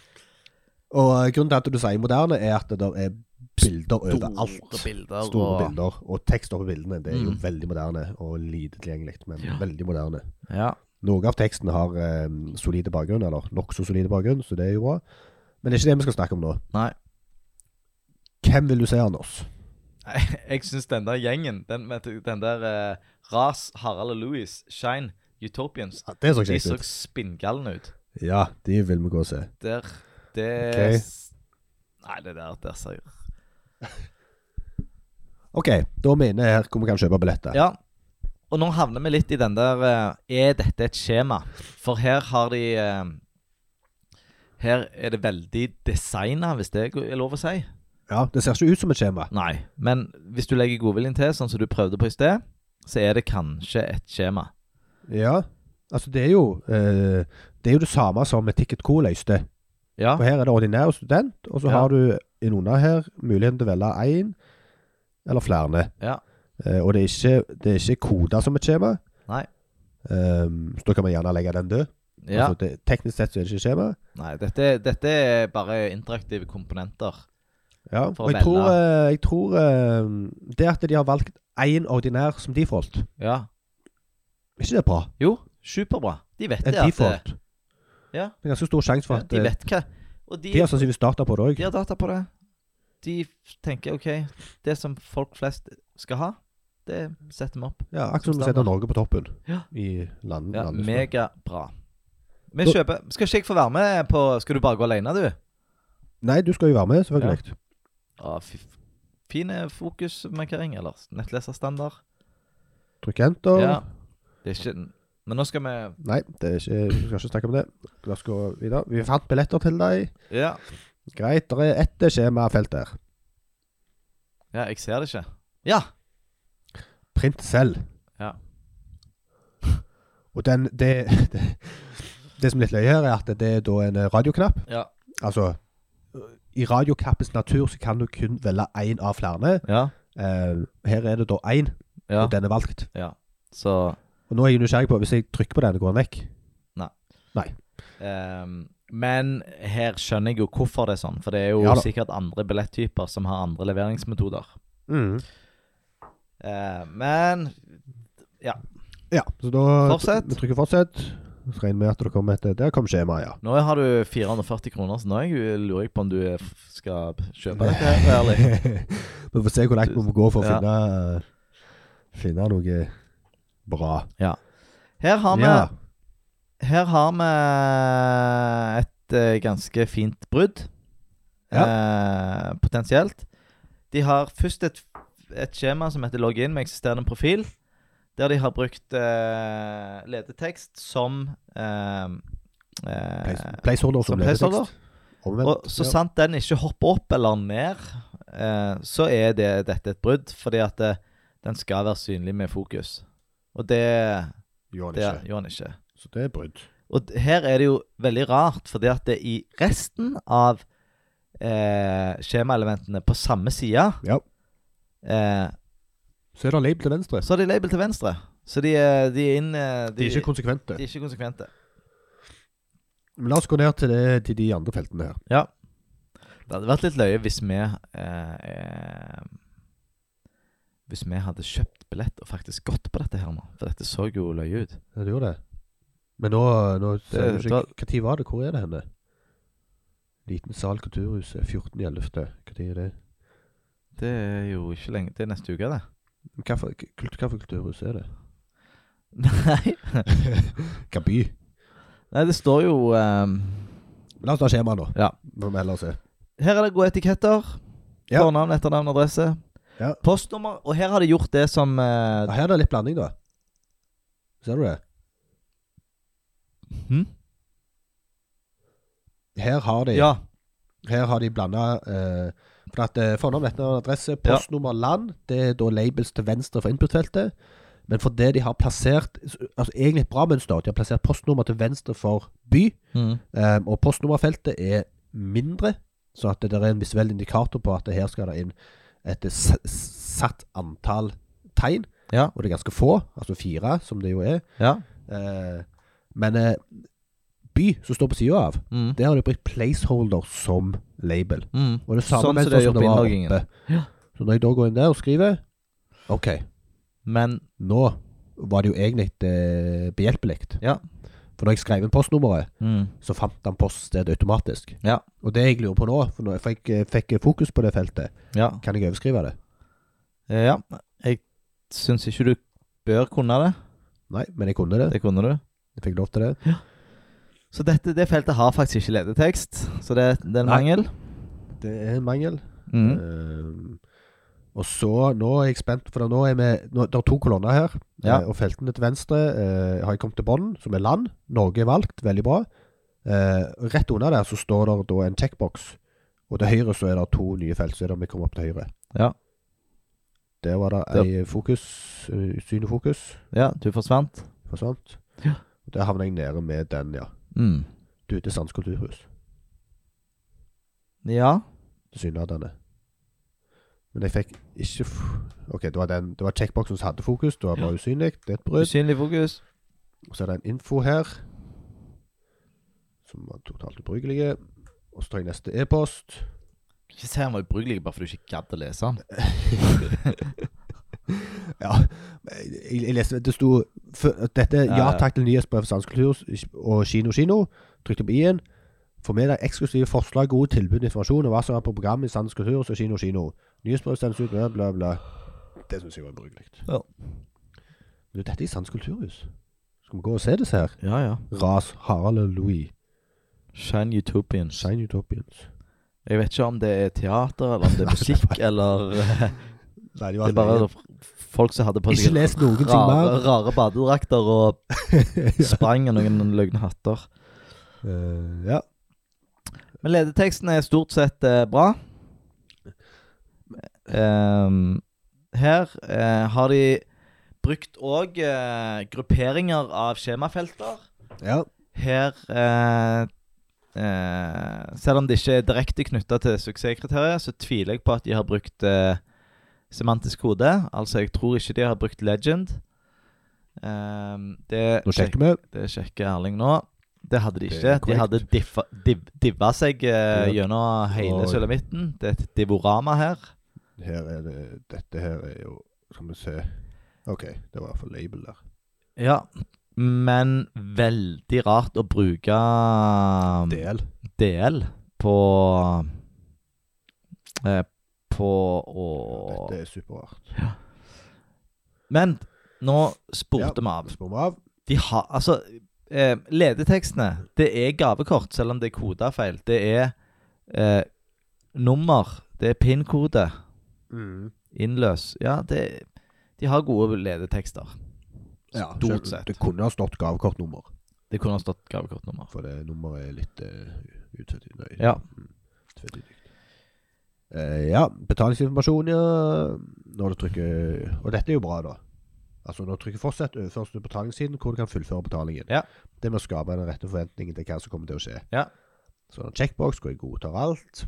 Og eh, grunnen til at du sier moderne, er at det der er bilder overalt.
Store bilder.
Store
og-
bilder. Og tekst over bildene. Det er jo
Mm.
veldig moderne og lite tilgjengelig, men
Ja.
veldig moderne.
Ja.
Noe av teksten har eh, solide bakgrunn, eller nokså solide bakgrunn, så det er jo bra. Men det er ikke det vi skal snakke om nå.
Nei.
Hvem vil du se, Anders?
Nei, Jeg syns den der gjengen, den, vet du, den der eh, Ras, Harald og Louis, Shine, Utopians
Ja, det så
De
kjekt
så
ut.
spinngalne ut.
Ja, de vil vi gå og se.
Der Det
Ok.
Nei, det der der ser jeg
OK, da er vi inne her hvor vi kan kjøpe billetter.
Ja. Og nå havner vi litt i den der eh, Er dette et skjema? For her har de eh, Her er det veldig designa, hvis det er lov å si.
Ja, Det ser ikke ut som et skjema.
Nei. Men hvis du legger godviljen til, sånn som du prøvde på i sted, så er det kanskje et skjema.
Ja, altså det er jo eh, Det er jo det samme som Ticket Co løste.
Ja.
For her er det ordinær student, og så
Ja.
har du innunder her muligheten til å velge én eller flere.
Ja.
Eh, og det er ikke, det er ikke koda som et skjema.
Nei.
Ehm, så da kan man gjerne legge den død.
ja.
Altså, det, teknisk sett så er det ikke et skjema.
Nei, dette, dette er bare interaktive komponenter.
Ja.
For å
Og jeg
velge.
tror, eh, jeg tror eh, det at de har valgt én ordinær som default,
Ja.
er ikke det bra?
Jo, superbra. De vet
En
det. At, eh,
default.
ja.
Det er ganske stor sjanse for
ja,
at
de
eh,
vet hva Og
de har sannsynligvis data på det òg.
De har data på det. De f- tenker OK, det som folk flest skal ha, det setter vi opp.
Ja, akkurat som
Som
vi setter
standard.
Norge på toppen
Ja.
i land,
Ja,
landlisten.
Megabra. Vi
Da-
kjøper Skal ikke jeg få være med på Skal du bare gå alene, du?
Nei, du skal jo være med, selvfølgelig.
Å, fy f- Fine fokusmarkering, eller s- nettleserstandard.
Trykk enter.
Ja. Det er ikke Men nå skal vi
Nei, det er ikke, vi skal ikke snakke om det. La oss gå videre. Vi fant billetter til deg.
Ja,
Greit, det er ett skjemafelt der.
ja jeg ser det ikke. Ja!
Print selv.
Ja.
Og den, det, det, det som er litt løye her, er at det er da en eh, radioknapp.
Ja.
Altså, i radiokappens natur så kan du kun velge én av flere.
Ja.
Eh, her er det da én,
ja.
og den er valgt.
Så
Og nå er jeg nysgjerrig på, hvis jeg trykker på den, går den vekk?
ehm, Men her skjønner jeg jo hvorfor det er sånn. For det er jo
Ja da.
Mm. sikkert andre billetttyper som har andre leveringsmetoder. Eh, men
Ja, så da
Fortsett.
Vi trykker 'fortsett'. Så regner vi med at det kommer et Der kom skjemaet, ja.
nå har du 440 kroner, så nå er jeg- lurer jeg på om du er- skal kjøpe dette. her, ærlig.
vi får se hvor langt vi må gå for å
Ja.
finne, finne noe bra.
Her har vi
Ja.
Her har vi et eh, ganske fint brudd. Eh, potensielt. De har først et, et skjema som heter 'logg inn med eksisterende profil', der de har brukt eh, ledetekst som eh, eh,
Place- Placeholder som
som placeholder.
ledetekst. Omvendt.
Og så
ja.
sant den ikke hopper opp eller ned, eh, så er det, dette et brudd. Fordi at eh, den skal være synlig med fokus. Og det,
Gjorde
det
han ikke.
gjør den ikke.
Så det er brudd.
Og d- her er det jo veldig rart, fordi at det i resten av eh, skjemaelementene på samme side,
Ja.
eh,
Så er det label til venstre.
så har de label til venstre. Så de, er- de er inn eh,
De er ikke konsekvente.
de er ikke konsekvente.
Men la oss gå ned til, det, til de andre feltene her.
Ja. Det hadde vært litt løye hvis vi eh, eh, Hvis vi hadde kjøpt billett og faktisk gått på dette her nå. For dette så jo løye ut.
Ja, du gjorde det. Men nå, nå ser
Det-
du ikke Hva tid var det? Hvor er det henne? Liten sal, kulturhuset. 14 i 11. Hva tid er det?
Det er jo ikke lenge Det er neste uke, det.
Hva for, kult, hva for kulturhus er det?
Nei,
Hva by?
Nei det står jo eh,
La oss ta skjemaet nå.
Ja.
Hva må vi ellers se?
Her er det gode etiketter.
Ja.
Fornavn, etternavn, adresse.
Ja.
Postnummer. Og her har de gjort det som
Ja,
eh,
her er det litt blanding, da. Ser du det?
hm?
Her har de,
Ja.
her har de blanda eh, For at eh, fornavn, etternavn, adresse, postnummer, land, det er da labels til venstre for input-feltet. Men for det de har plassert Altså egentlig et bra mønster. De har plassert postnummer til venstre for by.
Mm.
Um, og postnummerfeltet er mindre, så at det der er en visuell indikator på at det her skal det inn et s- satt antall tegn.
Ja.
Og det er ganske få, altså fire, som det jo er.
ja.
Eh, men eh, by, som står på sida av,
Mm.
der har de brukt placeholder som label.
Mm.
Og det er samme
Sånn som
mønster
de har gjort
som det
på
var
innloggingen.
oppe.
Ja.
Så når jeg da går inn der og skriver OK,
Men
nå var det jo egentlig eh, behjelpelig.
Ja.
For når jeg skrev inn postnummeret,
mm.
så fant han poststedet automatisk.
Ja.
Og det jeg lurer på nå, for når jeg fikk, fikk fokus på det feltet,
Ja.
kan jeg overskrive det?
Eh, ja. Jeg syns ikke du bør kunne det.
Nei, men jeg kunne det.
Det kunne du.
Jeg fikk lov til det.
Så dette, det feltet har faktisk ikke ledetekst, så det, det er en
Nei.
mangel.
Det er en mangel.
Mm.
Ehm, og så, nå er jeg spent, for nå er vi nå, Det er to kolonner her,
Ja.
eh, og feltene til venstre eh, har jeg kommet til bunnen, som er land. Norge er valgt, veldig bra. Eh, rett under der så står det da en checkbox, og til høyre så er det to nye felt, så er det om vi kommer opp til høyre.
Ja.
Der var det ei fokus, eh, synlig fokus.
Ja, du forsvant.
For sant?
Ja.
Og Der havner jeg nede med den, ja.
Mm.
Du, det er Sands kulturhus.
Ja.
Tilsynelatende. Men jeg fikk ikke f OK, det var, den, det var checkboxen som hadde fokus. Det var bare usynlig. Det er et brudd.
Usynlig fokus.
Og så er det en info her som var totalt ubrukelig. Og så tar jeg neste e-post.
Ikke si han var ubrukelig bare fordi du ikke gadd å lese den.
Ja, jeg, jeg leste Det sto fø- at dette
Ja,
Ja
ja.
takk til nyhetsbrev for Sands kulturhus og Kino Kino. Trykte på i-en. Få med deg eksklusive forslag, gode tilbud, informasjon og hva som er på programmet i Sands kulturhus og Kino Kino. Nyhetsbrev sendes ut, bla, bla, bla. Det syns jeg var ubrukelig.
Ja.
Men du, dette er i Sands kulturhus. Skal vi gå og se disse her?
Ja, ja.
Ras, Harald og Louis.
Shine Utopian.
Shine Utopians.
Jeg vet ikke om det er teater, eller om det er musikk, eller eh,
Nei, de
Det er bare f- folk som hadde på
Ikke
seg
les noen ting
rare,
mer.
rare badedrakter og sprang i noen løgne hatter.
Eh, ja.
Men ledeteksten er stort sett eh, bra. Ehm, her eh, har de brukt òg eh, grupperinger av skjemafelter.
ja.
Her eh, eh, Selv om det ikke er direkte knytta til suksesskriteriet, så tviler jeg på at de har brukt eh, semantisk kode. Altså, jeg tror ikke de har brukt legend. Ehm, det,
Nå sjekker vi.
det sjekker Erling nå. Det hadde de
Det
ikke.
er
De hadde
korrekt.
diffa, div, divva seg eh,
Ja.
gjennom hele
Og-
sulamitten. Det er et divorama her.
Her er det, dette her er jo Skal vi se OK, det var i hvert fall label der.
Ja. Men veldig rart å bruke um, Mm.
DL.
DL på eh, På å
Dette er superrart.
Men nå spurte vi av.
Spør vi av.
De har Altså, eh, ledetekstene Det er gavekort, selv om det er koda feil. Det er eh, nummer. Det er PIN-kode. Innløs. Ja, det De har gode ledetekster.
Ja,
Stort
selv-
sett.
Det kunne ha stått gavekortnummer,
Det kunne ha stått gavekortnummer.
for det nummeret er litt uh, utvetydig. Nei,
Ja.
mm, tvetydig. Eh, ja, betalingsinformasjon, ja. Når du trykker Og dette er jo bra, da. Altså Når du trykker 'fortsett', overføres du til betalingssiden hvor du kan fullføre betalingen.
Ja.
Det med å skape den rette forventningen til hva som kommer til å skje.
Ja.
Så en checkbox hvor jeg godtar alt.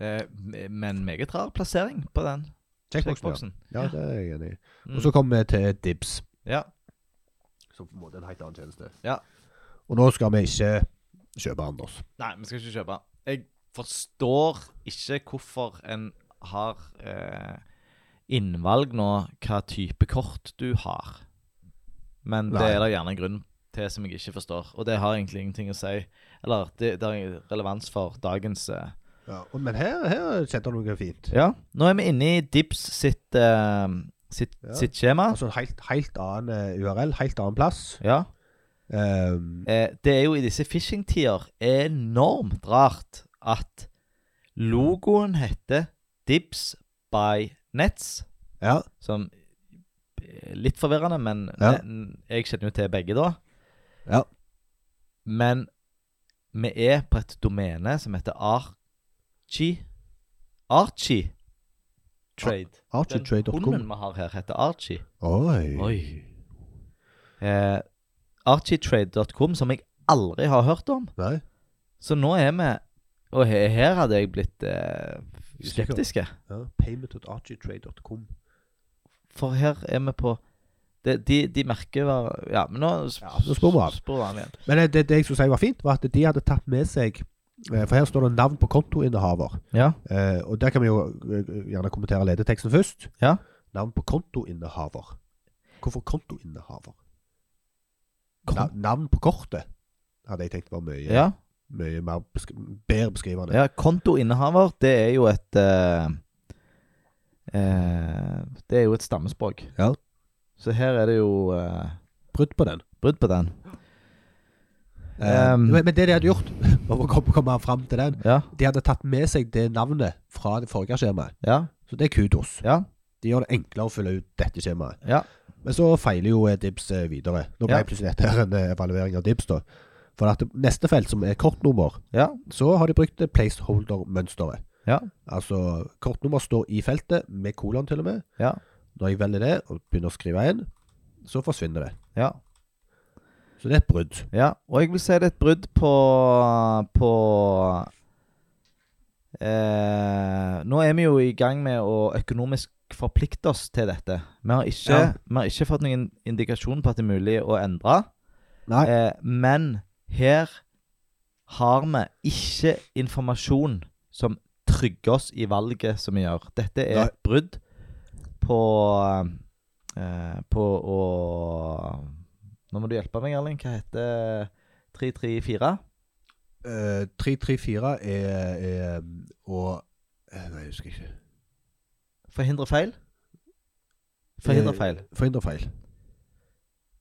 Eh, men meget rar plassering på den
Checkboxen.
checkboxen.
Ja. ja, det er jeg enig i.
Mm.
Og så kommer vi til dibs.
Ja.
Som på en måte er en helt annen tjeneste.
Ja.
Og nå skal vi ikke kjøpe Anders.
Nei, vi skal ikke kjøpe. Jeg forstår ikke hvorfor en har eh, innvalg nå hva type kort du har. Men det
Nei.
er det gjerne en grunn til som jeg ikke forstår. Og det har egentlig ingenting å si. Eller det, det har relevans for dagens eh.
Ja, og- men her, her setter du noe fint.
Ja. Nå er vi inne i Dibs sitt, eh, sitt,
Ja.
sitt skjema.
Altså en helt, helt annen eh, URL, helt annen plass.
Ja.
Ehm,
Eh, det er jo i disse phishing-tider enormt rart at logoen heter Dibs by Nets,
ja.
som er litt forvirrende, men
Ja.
ne- jeg kjenner jo til begge da.
Ja.
Men vi er på et domene som heter Archie Archie Trade. Den hunden
Architrade.com.
vi har her, heter Archie.
Oi.
Oi. Eh, Archietrade.com, som jeg aldri har hørt om.
Nei.
Så nå er vi Og he- her hadde jeg blitt eh,
Usikker.
skeptiske.
Ja. Payment.architrade.com.
For her er vi på De, de, de merker hva Ja, men nå sp
Ja, så spør vi av.
spør vi av igjen.
Men eh, det, det, det jeg skulle si var fint, var at de hadde tatt med seg eh, For her står det navn på kontoinnehaver.
Ja.
Eh, og der kan vi jo eh, gjerne kommentere ledeteksten først.
Ja.
Navn på kontoinnehaver. Hvorfor kontoinnehaver?
Kon-
Na, navn på kortet hadde jeg tenkt var mye,
ja.
mye mer besk bedre beskrivende.
ja kontoinnehaver, det er jo et eh, eh, Det er jo et stammespråk.
Ja.
Så her er det jo eh,
Brudd på den.
brudd på den.
Eh,
Um,
men, men det de hadde gjort, for å komme, komme fram til den
Ja.
De hadde tatt med seg det navnet fra det forrige skjemaet.
Ja.
Så det er kudos.
Ja.
De gjør det enklere å fylle ut dette skjemaet.
Ja.
Men så feiler jo eh, Dibs eh, videre. Nå ble
Ja.
plutselig dette her en eh, evaluering av Dibs, da. For at det- neste felt, som er kortnummer,
Ja.
så har de brukt eh, placeholder-mønsteret.
Ja.
Altså, kortnummer står i feltet, med kolon til og med.
Ja.
Når jeg velger det, og begynner å skrive inn, så forsvinner det.
ja.
Så det er et brudd.
Ja, og jeg vil si det er et brudd på På eh, Nå er vi jo i gang med å økonomisk forplikte oss til dette. Vi har ikke,
Ja.
vi har ikke fått noen indikasjon på at det er mulig å endre.
Nei.
Eh, men her har vi ikke informasjon som trygger oss i valget som vi gjør. Dette er
Nei.
et brudd på eh, På å Nå må du hjelpe meg, Erling. Hva heter eh, 334?
Eh, 334 er, er og eh, Nei, jeg husker ikke.
Forhindre feil? Forhindre
Eh,
feil.
Forhindre feil.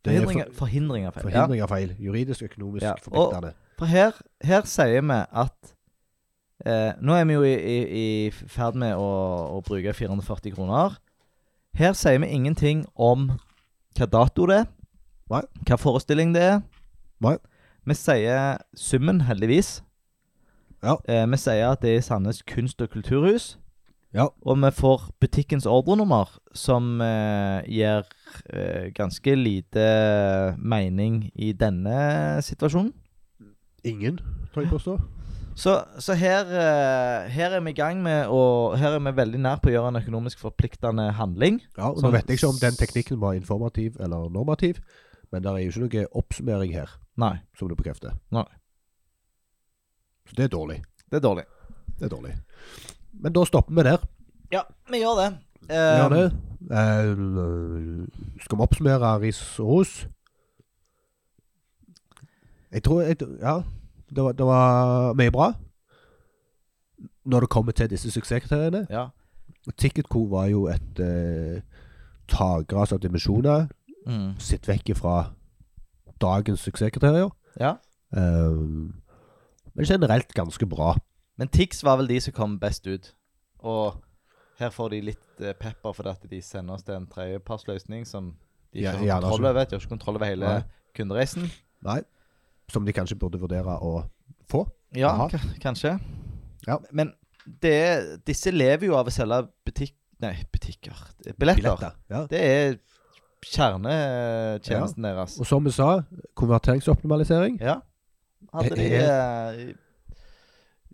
Det er
Forhindring, forhindring av
for,
feil. Ja.
forhindring av feil. Juridisk, økonomisk
Ja, og-
forpliktende.
For her, her sier vi at eh, Nå er vi jo i, i, i ferd med å, å bruke 440 kroner. Her sier vi ingenting om hva dato det er,
Nei.
hva forestilling det er.
Nei.
Vi sier summen, heldigvis.
Ja.
Eh, vi sier at det er i Sandnes kunst- og kulturhus.
Ja.
Og vi får butikkens ordrenummer, som eh, gir eh, ganske lite mening i denne situasjonen.
Ingen, tror jeg påstå.
Så, så her, eh, her er vi i gang med å Her er vi veldig nær på å gjøre en økonomisk forpliktende handling.
Ja, og
Sånn-
Nå vet jeg ikke om den teknikken var informativ eller normativ, men det er jo ikke noe oppsummering her
Nei,
som du bekrefter.
Nei.
Så det er dårlig.
det er dårlig.
Det er dårlig. Men da stopper vi der.
Ja, vi gjør det.
Vi
Eh,
gjør det. Eh, skal vi oppsummere ris og ros? Jeg tror jeg, Ja. Det var, det var mye bra. Når det kommer til disse suksesskriteriene.
Um, Ja.
Ticketco var jo et eh, tagras av dimensjoner.
Mm.
Sitt vekk ifra dagens suksesskriterier.
ja.
Eh, men generelt ganske bra.
Men Tix var vel de som kom best ut. Og her får de litt eh, pepper fordi at de sender oss til en tredjepartsløsning som de
Ja,
ikke
ja,
har
det er
kontroll
sånn.
over. De har ikke kontroll over hele
Nei.
kundereisen.
Nei. Som de kanskje burde vurdere å få.
Ja,
Aha.
k kanskje.
Ja.
Men det, disse lever jo av å selge butikk... Nei, butikker. Billetter.
Billetter. Ja.
Det er kjernetjenesten deres.
Og som vi sa, konverteringsoptimalisering.
Ja. Hadde de
Jeg-
eh,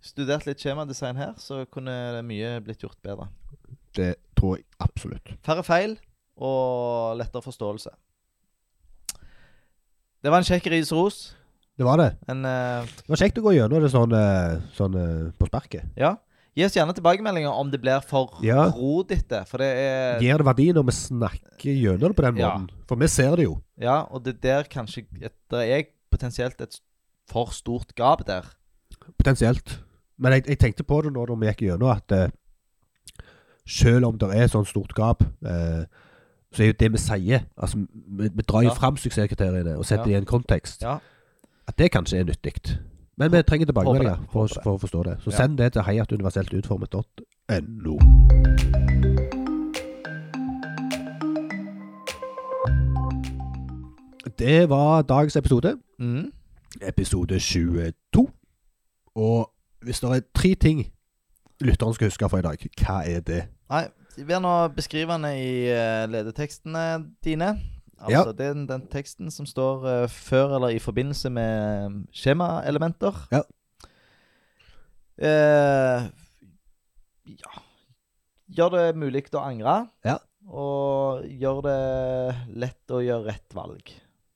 studert litt skjemadesign her, så kunne mye blitt gjort bedre.
Det tror jeg absolutt.
Færre feil og lettere forståelse. Det var en kjekk ris og ros.
Det var det.
En, eh,
Det var kjekt å gå gjennom det sånn, eh, sånn eh, på sparket.
ja. Gi oss gjerne tilbakemeldinger om det blir for
Ja.
rodete. For det er
Gir det verdi når vi snakker gjennom det på den
Ja.
måten? For vi ser det jo.
Ja, og det der kanskje Der er jeg potensielt et for stort gap der.
Potensielt. Men jeg, jeg tenkte på det nå når vi gikk gjennom, at eh, selv om det er sånn stort gap, eh, så er jo det vi sier Altså, vi, vi drar jo
Ja.
fram suksesskriteriene og setter
Ja.
det i en kontekst.
Ja.
At det kanskje er nyttig. Men vi trenger tilbakemeldinger
Håper det.
for,
Håper det.
å- for å forstå det. Så
Ja.
send det til heiatuniverseltutformet.no. Det var dagens episode.
Mm.
Episode 22. Og hvis det er tre ting lytteren skal huske fra i dag, hva er det?
Nei, vær nå beskrivende i eh, ledetekstene dine. Altså den, den teksten som står eh, før eller i forbindelse med eh, skjemaelementer.
Ja.
Eh, ja Gjør det mulig å angre.
Ja.
Og gjør det lett å gjøre rett valg.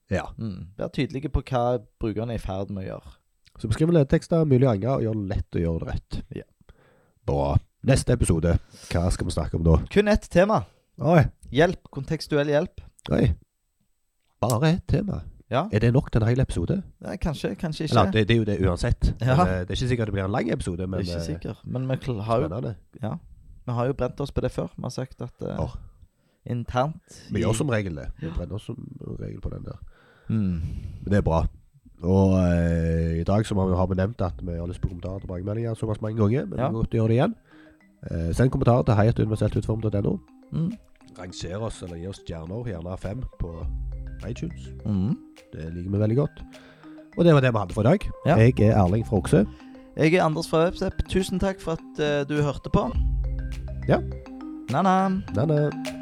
Ja.
Mm. Vær tydelige på hva brukerne er i ferd med å gjøre.
Så beskriv ledetekster, mulig å angre, og gjør det lett å gjøre det rett.
Ja.
Bra. Neste episode, hva skal vi snakke om da?
Kun ett tema.
Oi,
Hjelp. Kontekstuell hjelp.
oi. Bare ett tema.
Ja.
Er det nok til en hel episode?
Nei, Eh, kanskje, kanskje ikke.
Eller, det, det er jo det uansett.
Ja.
Men, eh, det er ikke sikkert det blir en lang episode, men
ikke
eh,
sikker. Men vi kl- har jo,
spennende.
ja. vi har jo brent oss på det før. Vi har sagt at eh,
Åh.
internt
Vi
i-
gjør som regel det. Vi
Ja.
brenner oss som regel på den der.
Mm.
Men det er bra. Og eh, i dag så har vi- har vi nevnt at vi har lyst på kommentarer og tilbakemeldinger såpass mange ganger. Men
Ja.
vi kan godt gjøre det igjen. Eh, send kommentarer til heiatuniverseltutform.no.
Mm.
Ranger oss, eller gi oss stjerner, gjerne fem, på iTunes.
Mm.
Det liker vi veldig godt. Og det var det vi hadde for i dag.
Ja.
Jeg er Erling fra Okse.
Jeg er Anders fra Webstep. Tusen takk for at eh, du hørte på.
Ja.
Na-na.
Nei, nei.